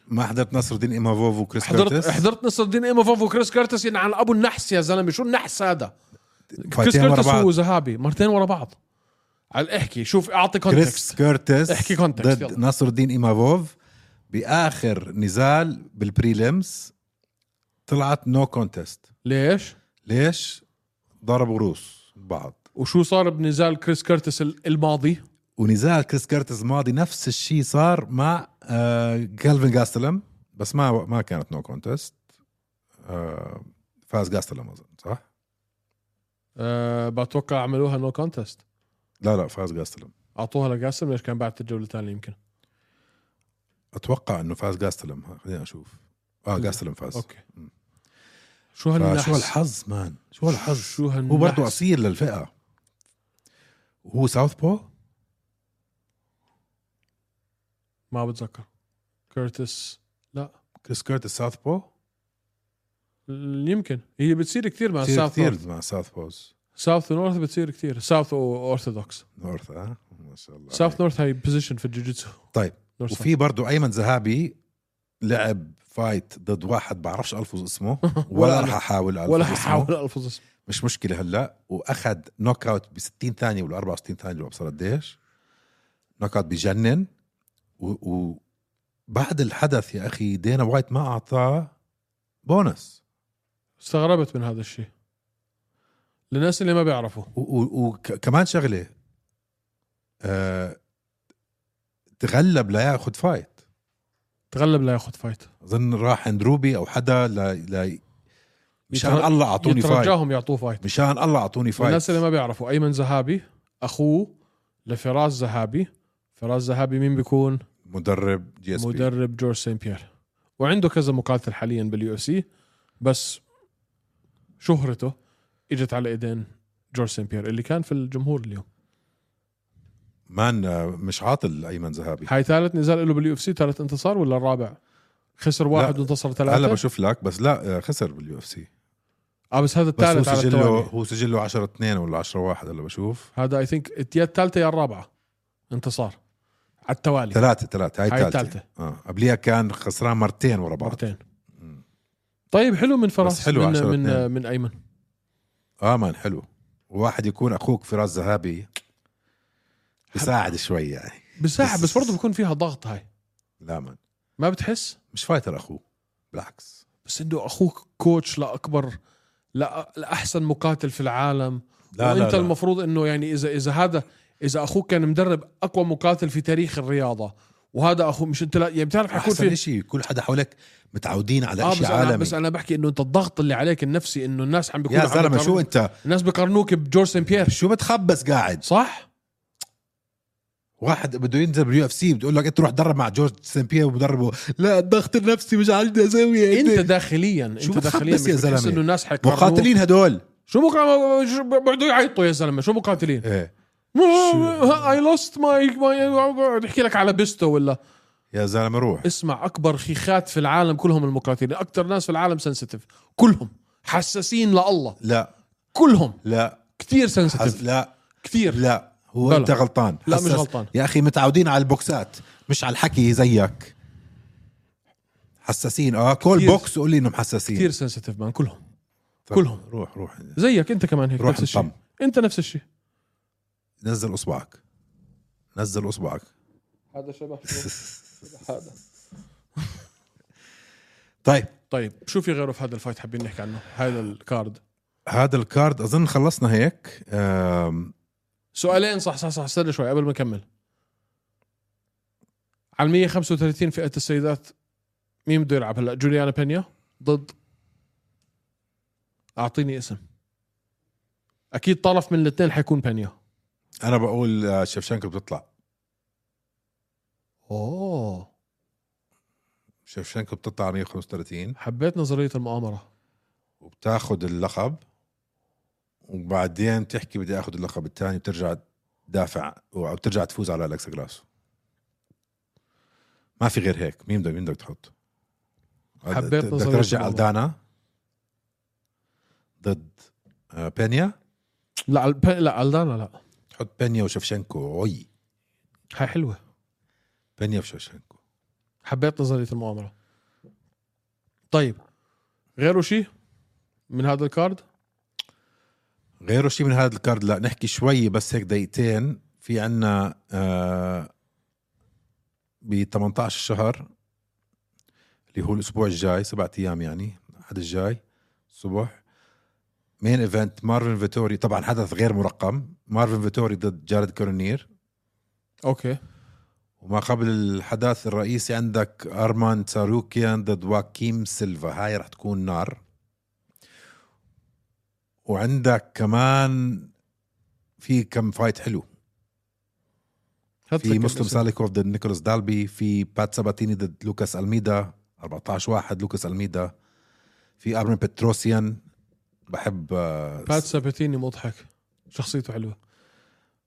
Speaker 2: ما حضرت نصر الدين امافوف وكريس
Speaker 1: حضرت
Speaker 2: كيرتس؟
Speaker 1: حضرت نصر الدين ايموفوف وكريس كيرتس يعني عن ابو النحس يا زلمه شو النحس هذا كريس
Speaker 2: فايتين ورا
Speaker 1: كيرتس
Speaker 2: بعض.
Speaker 1: وذهبي مرتين ورا بعض على احكي شوف اعطي
Speaker 2: كريس
Speaker 1: كونتكست
Speaker 2: كيرتس
Speaker 1: احكي context،
Speaker 2: ضد
Speaker 1: يلا.
Speaker 2: نصر الدين امافوف باخر نزال بالبريلمز طلعت نو كونتست
Speaker 1: ليش
Speaker 2: ليش؟ ضربوا روس بعض
Speaker 1: وشو صار بنزال كريس كيرتس ال- الماضي
Speaker 2: ونزال كريس كيرتس ماضي نفس الشيء صار مع آه كالفن جاستلم بس ما ما كانت نو كونتست آه فاز جاستلم اظن صح؟
Speaker 1: أه بتوقع عملوها نو كونتست
Speaker 2: لا لا فاز جاستلم
Speaker 1: اعطوها لقاسم ليش كان بعد الجوله الثانيه يمكن
Speaker 2: اتوقع انه فاز جاستلم ها، خلينا اشوف اه جاستلم فاز
Speaker 1: اوكي شو
Speaker 2: شو
Speaker 1: هالنحس
Speaker 2: الحظ مان شو الحظ
Speaker 1: شو
Speaker 2: هو برضه
Speaker 1: هالنحس
Speaker 2: اصيل للفئه وهو ساوث بو
Speaker 1: ما بتذكر كيرتس لا
Speaker 2: كريس كيرتس ساوث بو
Speaker 1: ال- يمكن هي بتصير كثير مع
Speaker 2: كثير
Speaker 1: ساوث
Speaker 2: كثير مع ساوث بوز
Speaker 1: ساوث نورث بتصير كثير ساوث اورثودوكس
Speaker 2: نورث اه ما شاء الله
Speaker 1: ساوث نورث هاي بوزيشن في الجوجيتسو
Speaker 2: طيب
Speaker 1: نورث
Speaker 2: وفي برضه ايمن زهابي لعب فايت ضد واحد بعرفش الفظ اسمه
Speaker 1: ولا
Speaker 2: ولا
Speaker 1: أنا.
Speaker 2: رح احاول الفظ
Speaker 1: ولا
Speaker 2: اسمه.
Speaker 1: حاول الفظ اسمه
Speaker 2: مش مشكله هلا واخذ نوك اوت ب 60 ثانيه ولا 64 ثانيه ولا ابصر قديش نوك اوت بجنن و- و بعد الحدث يا اخي دينا وايت ما اعطاه بونس
Speaker 1: استغربت من هذا الشيء للناس اللي ما بيعرفوا
Speaker 2: و- و- وكمان شغله آه، تغلب لياخذ فايت
Speaker 1: تغلب لا ياخذ فايت
Speaker 2: اظن راح عند روبي او حدا ل... ل... مشان
Speaker 1: يتر-
Speaker 2: الله اعطوني فايت
Speaker 1: يترجاهم يعطوه فايت
Speaker 2: مشان الله اعطوني فايت
Speaker 1: الناس اللي ما بيعرفوا ايمن زهابي اخوه لفراس زهابي فراس زهابي مين بيكون
Speaker 2: مدرب جي اس بي
Speaker 1: مدرب جورج سين بيير وعنده كذا مقاتل حاليا باليو اف سي بس شهرته اجت على ايدين جورج سين بيير اللي كان في الجمهور اليوم
Speaker 2: مان آه، مش عاطل ايمن زهابي
Speaker 1: هاي ثالث نزال له باليو اف سي ثالث انتصار ولا الرابع خسر واحد
Speaker 2: لا.
Speaker 1: وانتصر ثلاثه
Speaker 2: هلا بشوف لك بس لا آه، خسر باليو اف سي
Speaker 1: اه بس هذا
Speaker 2: بس هو
Speaker 1: الثالث على
Speaker 2: سجله
Speaker 1: التوالي
Speaker 2: هو سجله 10 2 ولا 10 1 هلا بشوف
Speaker 1: هذا اي ثينك يا الثالثه يا الرابعه انتصار على التوالي
Speaker 2: ثلاثة ثلاثة
Speaker 1: هاي
Speaker 2: هاي
Speaker 1: الثالثة.
Speaker 2: الثالثة اه قبليها كان خسران مرتين ورا بعض
Speaker 1: مرتين طيب حلو من فراس
Speaker 2: بس حلو
Speaker 1: من
Speaker 2: عشرة
Speaker 1: من,
Speaker 2: اثنين.
Speaker 1: من ايمن
Speaker 2: اه مان حلو واحد يكون اخوك فراس ذهبي بيساعد شوي يعني
Speaker 1: بساعة
Speaker 2: بس-
Speaker 1: بس برضه بكون فيها ضغط هاي
Speaker 2: لا مان
Speaker 1: ما بتحس
Speaker 2: مش فايتر اخوه بالعكس
Speaker 1: بس انه اخوك كوتش لاكبر لا لاحسن مقاتل في العالم
Speaker 2: لا
Speaker 1: وانت
Speaker 2: لا, لا.
Speaker 1: المفروض انه يعني اذا اذا هذا اذا اخوك كان مدرب اقوى مقاتل في تاريخ الرياضه وهذا اخوه مش انت لا يعني بتعرف حيكون
Speaker 2: احسن
Speaker 1: في
Speaker 2: شيء كل حدا حواليك متعودين على
Speaker 1: اه
Speaker 2: آه
Speaker 1: بس
Speaker 2: شيء
Speaker 1: انا
Speaker 2: عالمي
Speaker 1: بس انا بحكي انه انت الضغط اللي عليك النفسي انه الناس عم بيكونوا
Speaker 2: يا
Speaker 1: عم
Speaker 2: زلمه شو
Speaker 1: بيقارنوا-
Speaker 2: انت
Speaker 1: الناس بيقارنوك بجورج سان بيير
Speaker 2: شو بتخبص قاعد
Speaker 1: صح؟
Speaker 2: واحد بده ينزل باليو اف سي بتقول لك انت روح درب مع جورج سان بيير ومدربه لا الضغط النفسي مش عندي اسوي
Speaker 1: انت داخليا انت
Speaker 2: شو
Speaker 1: داخليا
Speaker 2: بتخبص يا
Speaker 1: مش بتحس
Speaker 2: زلمة؟
Speaker 1: انه الناس حيقارنوك
Speaker 2: مقاتلين هدول
Speaker 1: شو مقاتلين بقعدوا يعيطوا يا زلمه شو مقاتلين؟
Speaker 2: ايه
Speaker 1: اي لوست ماي بقعد يحكي لك على بيستو ولا
Speaker 2: يا زلمه روح
Speaker 1: اسمع اكبر خيخات في العالم كلهم المقاتلين اكثر ناس في العالم سنسيتيف كلهم حساسين لله
Speaker 2: لا
Speaker 1: كلهم
Speaker 2: لا
Speaker 1: كثير
Speaker 2: حز...
Speaker 1: سنسيتيف
Speaker 2: لا
Speaker 1: كثير
Speaker 2: لا هو
Speaker 1: بلا.
Speaker 2: انت غلطان
Speaker 1: لا،
Speaker 2: حسس-
Speaker 1: مش غلطان.
Speaker 2: يا اخي متعودين على البوكسات مش على الحكي زيك حساسين اه كل
Speaker 1: كتير.
Speaker 2: بوكس قول لي انهم حساسين
Speaker 1: كثير سنسيتيف مان كلهم
Speaker 2: طب،
Speaker 1: كلهم.
Speaker 2: روح روح
Speaker 1: زيك انت كمان هيك
Speaker 2: روح
Speaker 1: نفس الشيء
Speaker 2: انطم.
Speaker 1: انت نفس الشيء
Speaker 2: نزل اصبعك نزل اصبعك
Speaker 1: هذا شبه هذا
Speaker 2: طيب
Speaker 1: طيب شو في غيره في هذا الفايت حابين نحكي عنه هذا الكارد
Speaker 2: هذا الكارد اظن خلصنا هيك آه، آم،
Speaker 1: سؤالين صح صح صح استنى شوي قبل ما نكمل على 135 فئه السيدات مين بده يلعب هلا جوليانا بينيا ضد اعطيني اسم اكيد طرف من الاثنين حيكون بينيا
Speaker 2: انا بقول آه، شفشنكو بتطلع
Speaker 1: اوه
Speaker 2: شفشنكو بتطلع 135
Speaker 1: حبيت نظريه المؤامره
Speaker 2: وبتاخذ اللقب وبعدين تحكي بدي اخذ اللقب الثاني بترجع تدافع او بترجع تفوز على الكسا جلاس ما في غير هيك مين بدك مين بدك تحط
Speaker 1: حبيت
Speaker 2: بدك
Speaker 1: نظرية
Speaker 2: ترجع
Speaker 1: الموضوع.
Speaker 2: الدانا ضد آه، بينيا
Speaker 1: لا الب... لا الدانا لا
Speaker 2: تحط بينيا وشفشنكو وي
Speaker 1: هاي حلوه
Speaker 2: بينيا وشفشنكو
Speaker 1: حبيت نظريه المؤامره طيب غيره شيء من هذا الكارد
Speaker 2: غيره شيء من هذا الكارد لا نحكي شوي بس هيك دقيقتين في عنا آه ب 18 شهر اللي هو الاسبوع الجاي سبعة ايام يعني الاحد الجاي الصبح مين ايفنت مارفن فيتوري طبعا حدث غير مرقم مارفن فيتوري ضد جارد كورنير
Speaker 1: اوكي
Speaker 2: وما قبل الحدث الرئيسي عندك ارمان ساروكيان ضد واكيم سيلفا هاي رح تكون نار وعندك كمان في كم فايت حلو
Speaker 1: هات لك
Speaker 2: في مسلم
Speaker 1: الاسم.
Speaker 2: ساليكوف ضد نيكولاس دالبي في بات ساباتيني ضد لوكاس الميدا 14 واحد لوكاس الميدا في ارمن بتروسيان بحب آه،
Speaker 1: بات سابتيني مضحك شخصيته حلوه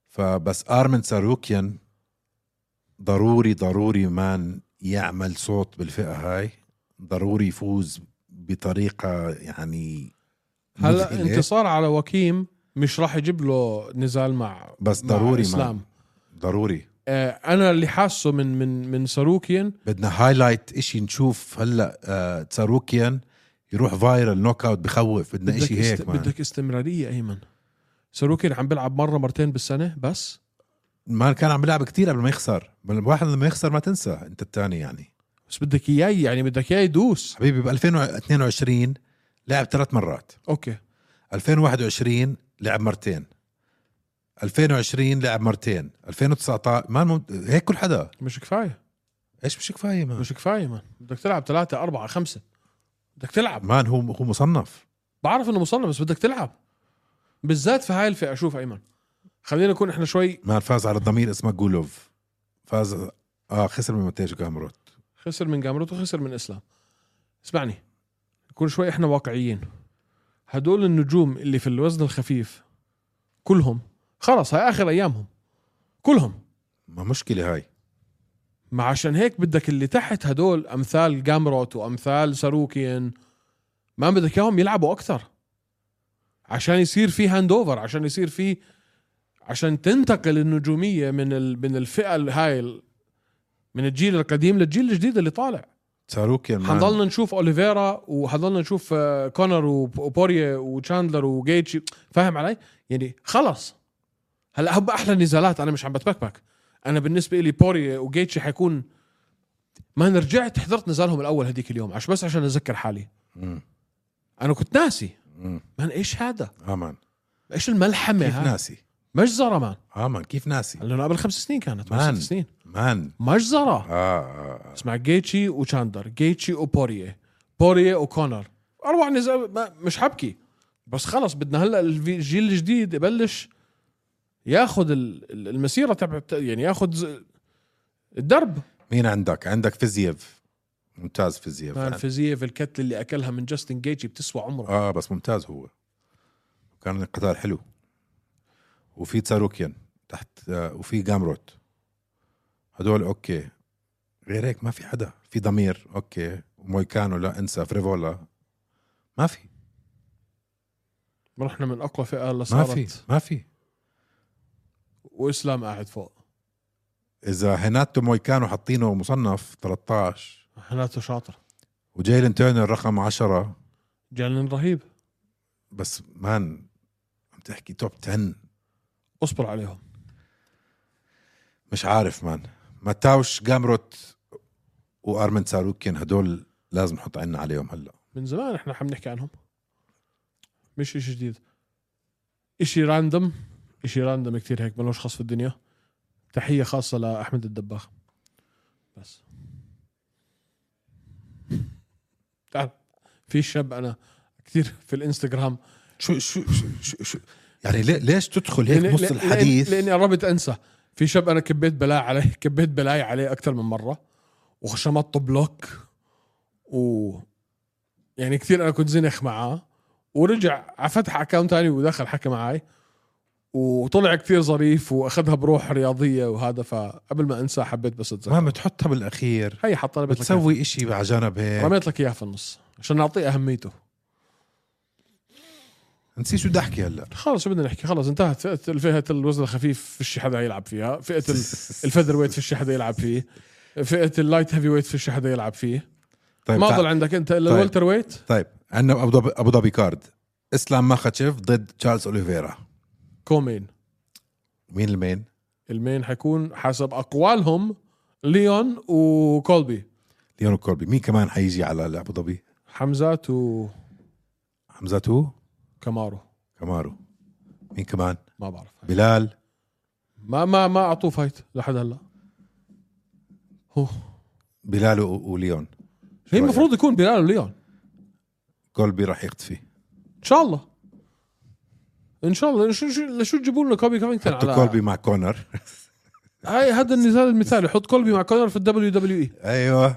Speaker 2: فبس ارمن ساروكيان ضروري ضروري مان يعمل صوت بالفئه هاي ضروري يفوز بطريقه يعني
Speaker 1: هلا
Speaker 2: مذهلة.
Speaker 1: انتصار على وكيم مش راح يجيب له نزال مع
Speaker 2: بس
Speaker 1: مع
Speaker 2: ضروري
Speaker 1: اسلام
Speaker 2: مان ضروري
Speaker 1: آه انا اللي حاسه من من من ساروكيان
Speaker 2: بدنا هايلايت اشي نشوف هلا آه ساروكيان يروح فايرال نوك اوت بخوف بدنا
Speaker 1: بدك
Speaker 2: اشي
Speaker 1: است...
Speaker 2: هيك مان
Speaker 1: بدك استمراريه ايمن ساروكيان عم بيلعب مره مرتين بالسنه بس
Speaker 2: ما كان عم بيلعب كتير قبل ما يخسر بل الواحد لما يخسر ما تنسى انت الثاني يعني
Speaker 1: بس بدك اياه يعني بدك اياه يدوس
Speaker 2: حبيبي ب 2022 لعب ثلاث مرات
Speaker 1: اوكي
Speaker 2: 2021 لعب مرتين 2020 لعب مرتين 2019 ما مم... هيك كل حدا
Speaker 1: مش كفايه
Speaker 2: ايش مش كفايه مان
Speaker 1: مش كفايه مان بدك تلعب ثلاثة أربعة خمسة بدك تلعب
Speaker 2: مان هو هو مصنف
Speaker 1: بعرف انه مصنف بس بدك تلعب بالذات في هاي الفئة شوف أيمن خلينا نكون احنا شوي
Speaker 2: مان فاز على الضمير اسمه جولوف فاز اه خسر من مونتاج كامروت
Speaker 1: خسر من جامروت وخسر من اسلام اسمعني نكون شوي احنا واقعيين هدول النجوم اللي في الوزن الخفيف كلهم خلص هاي اخر ايامهم كلهم
Speaker 2: ما مشكله هاي
Speaker 1: ما عشان هيك بدك اللي تحت هدول امثال جامروت وامثال ساروكيان ما بدك اياهم يلعبوا اكثر عشان يصير في هاند اوفر عشان يصير في عشان تنتقل النجوميه من ال... من الفئه ال- هاي ال... من الجيل القديم للجيل الجديد اللي طالع
Speaker 2: ساروكيان مان
Speaker 1: حنضلنا نشوف اوليفيرا وحنضلنا نشوف آه، كونر وب- وبوريه وتشاندلر وجيتشي فاهم علي؟ يعني خلص هلا هب احلى نزالات انا مش عم بتبكبك انا بالنسبه لي بوريه وجيتشي حيكون ما انا رجعت حضرت نزالهم الاول هذيك اليوم عش بس عشان اذكر حالي
Speaker 2: مم.
Speaker 1: انا كنت ناسي
Speaker 2: مم.
Speaker 1: مان ايش هذا؟
Speaker 2: اه مان
Speaker 1: ايش الملحمه
Speaker 2: كيف
Speaker 1: هاي؟
Speaker 2: ناسي
Speaker 1: مجزره مان
Speaker 2: اه مان كيف ناسي
Speaker 1: لانه قبل خمس سنين كانت ولا
Speaker 2: مان.
Speaker 1: ست سنين
Speaker 2: مان
Speaker 1: مجزره
Speaker 2: اه اه, آه.
Speaker 1: اسمع جيتشي وتشاندر جيتشي وبوريه بوريه وكونر اربع نزال ما- مش حبكي بس خلص بدنا هلا الفي- الجيل الجديد يبلش ياخذ ال- ال- المسيره تبع يعني ياخذ ز- الدرب
Speaker 2: مين عندك عندك فيزييف ممتاز فيزييف
Speaker 1: كان فيزييف الكتله اللي اكلها من جاستن جيتشي بتسوى عمره
Speaker 2: اه بس ممتاز هو كان القطار حلو وفي تساروكيان تحت آه، وفي جامروت هدول اوكي غير هيك ما في حدا في ضمير اوكي ومويكانو لا انسى فريفولا ما في
Speaker 1: رحنا من اقوى فئه
Speaker 2: ما في
Speaker 1: لصارت
Speaker 2: ما في
Speaker 1: واسلام قاعد فوق
Speaker 2: اذا هيناتو مويكانو حاطينه مصنف 13
Speaker 1: حالاته شاطر
Speaker 2: وجايلن تيرنر رقم 10
Speaker 1: جالن رهيب
Speaker 2: بس مان عم تحكي توب 10
Speaker 1: اصبر عليهم
Speaker 2: مش عارف مان ماتاوش جامروت وارمن ساروكين هدول لازم نحط عنا عليهم هلا
Speaker 1: من زمان احنا عم نحكي عنهم مش اشي جديد اشي راندم اشي راندم كتير هيك ملوش خاص في الدنيا تحية خاصة لأحمد الدباغ بس تعال في شاب أنا كتير في الانستغرام
Speaker 2: شو شو شو, شو, شو يعني ليه- ليش تدخل
Speaker 1: لأن-
Speaker 2: هيك نص
Speaker 1: لأن-
Speaker 2: الحديث
Speaker 1: لأني قربت أنسى في شاب أنا كبيت بلاي عليه كبيت بلاي عليه أكثر من مرة وشمطته بلوك و يعني كثير أنا كنت زنخ معاه ورجع فتح اكونت ثاني ودخل حكى معي وطلع كثير ظريف واخذها بروح رياضيه وهذا فقبل ما انسى حبيت بس اتذكر
Speaker 2: ما بتحطها بالاخير
Speaker 1: هي حط رميت لك إياها.
Speaker 2: بتسوي اشي على جنب هيك
Speaker 1: رميت لك اياها في النص عشان نعطيه اهميته
Speaker 2: نسي شو بدي احكي هلا
Speaker 1: خلص شو بدنا نحكي خلص انتهت فئه فئه الوزن الخفيف فيش حدا يلعب فيها فئه ال- الفيذر ويت فيش حدا يلعب فيه فئه اللايت هيفي ويت فيش حدا يلعب فيه
Speaker 2: طيب
Speaker 1: ما
Speaker 2: تعال.
Speaker 1: ضل عندك انت الا
Speaker 2: طيب.
Speaker 1: الولتر ويت
Speaker 2: طيب عندنا ابو ظبي ابو ظبي كارد اسلام ماخاتشيف ضد تشارلز اوليفيرا
Speaker 1: كومين
Speaker 2: مين المين؟
Speaker 1: المين حيكون حسب اقوالهم ليون وكولبي
Speaker 2: ليونو كولبي مين كمان حيجي على ابو ظبي؟
Speaker 1: حمزات و
Speaker 2: حمزاتو
Speaker 1: كمارو
Speaker 2: كمارو مين كمان؟
Speaker 1: ما بعرف
Speaker 2: بلال
Speaker 1: ما ما ما اعطوه فايت لحد هلا هو
Speaker 2: بلال و- وليون
Speaker 1: هي
Speaker 2: رأيك؟
Speaker 1: المفروض يكون بلال وليون
Speaker 2: كولبي راح يختفي
Speaker 1: ان شاء الله ان شاء الله شو شو لشو تجيبوا لنا كوبي كوفينغتون
Speaker 2: حطوا
Speaker 1: على
Speaker 2: كولبي مع كونر
Speaker 1: هاي هذا النزال المثالي حط كولبي مع كونر في الدبليو دبليو اي
Speaker 2: ايوه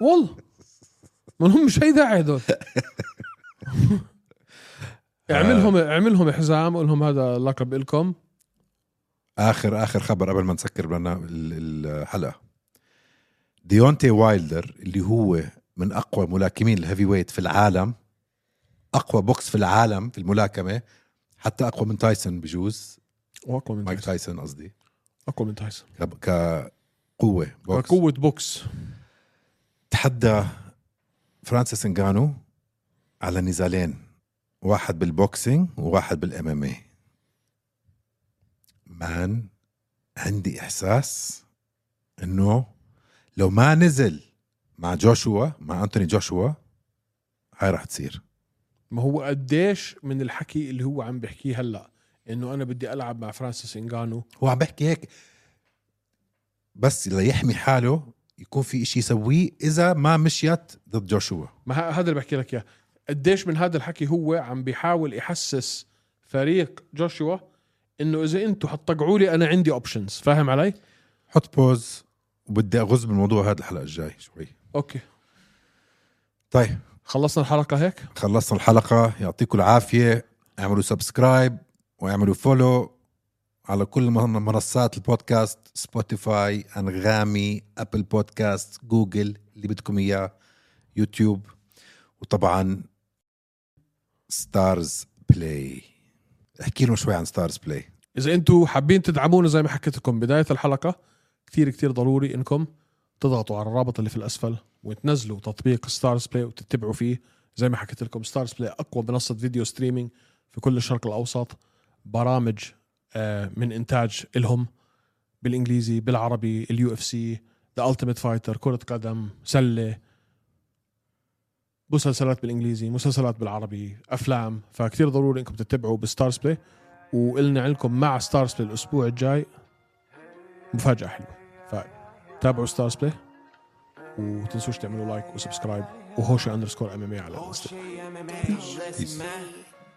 Speaker 1: والله ما لهم مش اي داعي هذول اعملهم اعملهم حزام قول لهم هذا لقب الكم
Speaker 2: اخر اخر خبر قبل ما نسكر برنا- ال- الحلقه ديونتي وايلدر اللي هو من اقوى ملاكمين الهيفي ويت في العالم اقوى بوكس في العالم في الملاكمه حتى اقوى من تايسون بجوز
Speaker 1: واقوى من
Speaker 2: مايك
Speaker 1: تايسون
Speaker 2: تايسون قصدي
Speaker 1: اقوى من تايسون
Speaker 2: ك- كقوه بوكس
Speaker 1: قوة بوكس
Speaker 2: تحدى فرانسيس انغانو على نزالين واحد بالبوكسينج وواحد إيه. بالام ام اي مان عندي احساس انه لو ما نزل مع جوشوا مع انتوني جوشوا هاي راح تصير
Speaker 1: ما هو قديش من الحكي اللي هو عم بيحكيه هلا انه انا بدي العب مع فرانسيس انجانو
Speaker 2: هو عم بحكي هيك بس ليحمي حاله يكون في إشي يسويه اذا ما مشيت ضد جوشوا
Speaker 1: ما ه- هذا اللي بحكي لك اياه قديش من هذا الحكي هو عم بيحاول يحسس فريق جوشوا انه اذا انتم حتطقعوا لي انا عندي اوبشنز فاهم علي
Speaker 2: حط بوز وبدي اغز بالموضوع هذا الحلقه الجاي شوي
Speaker 1: اوكي
Speaker 2: طيب
Speaker 1: خلصنا الحلقه هيك
Speaker 2: خلصنا الحلقه يعطيكم العافيه اعملوا سبسكرايب واعملوا فولو على كل من- منصات البودكاست سبوتيفاي انغامي ابل بودكاست جوجل اللي بدكم اياه يوتيوب وطبعا ستارز بلاي احكي لهم شوي عن ستارز بلاي
Speaker 1: اذا انتم حابين تدعمونا زي ما حكيت لكم بدايه الحلقه كثير كثير ضروري انكم تضغطوا على الرابط اللي في الاسفل وتنزلوا تطبيق ستارز بلاي وتتبعوا فيه زي ما حكيت لكم ستارز بلاي اقوى منصه فيديو ستريمينج في كل الشرق الاوسط برامج آه، من انتاج الهم بالانجليزي بالعربي اليو اف سي ذا التيميت فايتر كره قدم سله مسلسلات بالانجليزي مسلسلات بالعربي افلام فكتير ضروري انكم تتبعوا بستارز بلاي وقلنا لكم مع ستارز بلاي الاسبوع الجاي مفاجاه حلوه فتابعوا ستارز بلاي وتنسوش تعملوا لايك وسبسكرايب وهوشه اندرسكور ام ام اي إيه على الانستا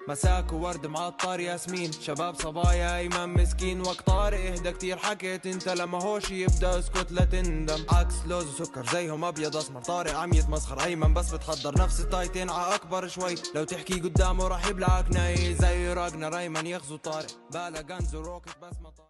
Speaker 3: مساك وورد معطر ياسمين شباب صبايا ايمن مسكين وقت طارق اهدى كتير حكيت انت لما هوش يبدا اسكت لا تندم عكس لوز وسكر زيهم ابيض اسمر طارق عم يتمسخر ايمن بس بتحضر نفس التايتين ع اكبر شوي لو تحكي قدامه راح يبلعك ناي زي راجنا ريمان يغزو طارق بالا غنز وروكت بس ما طارق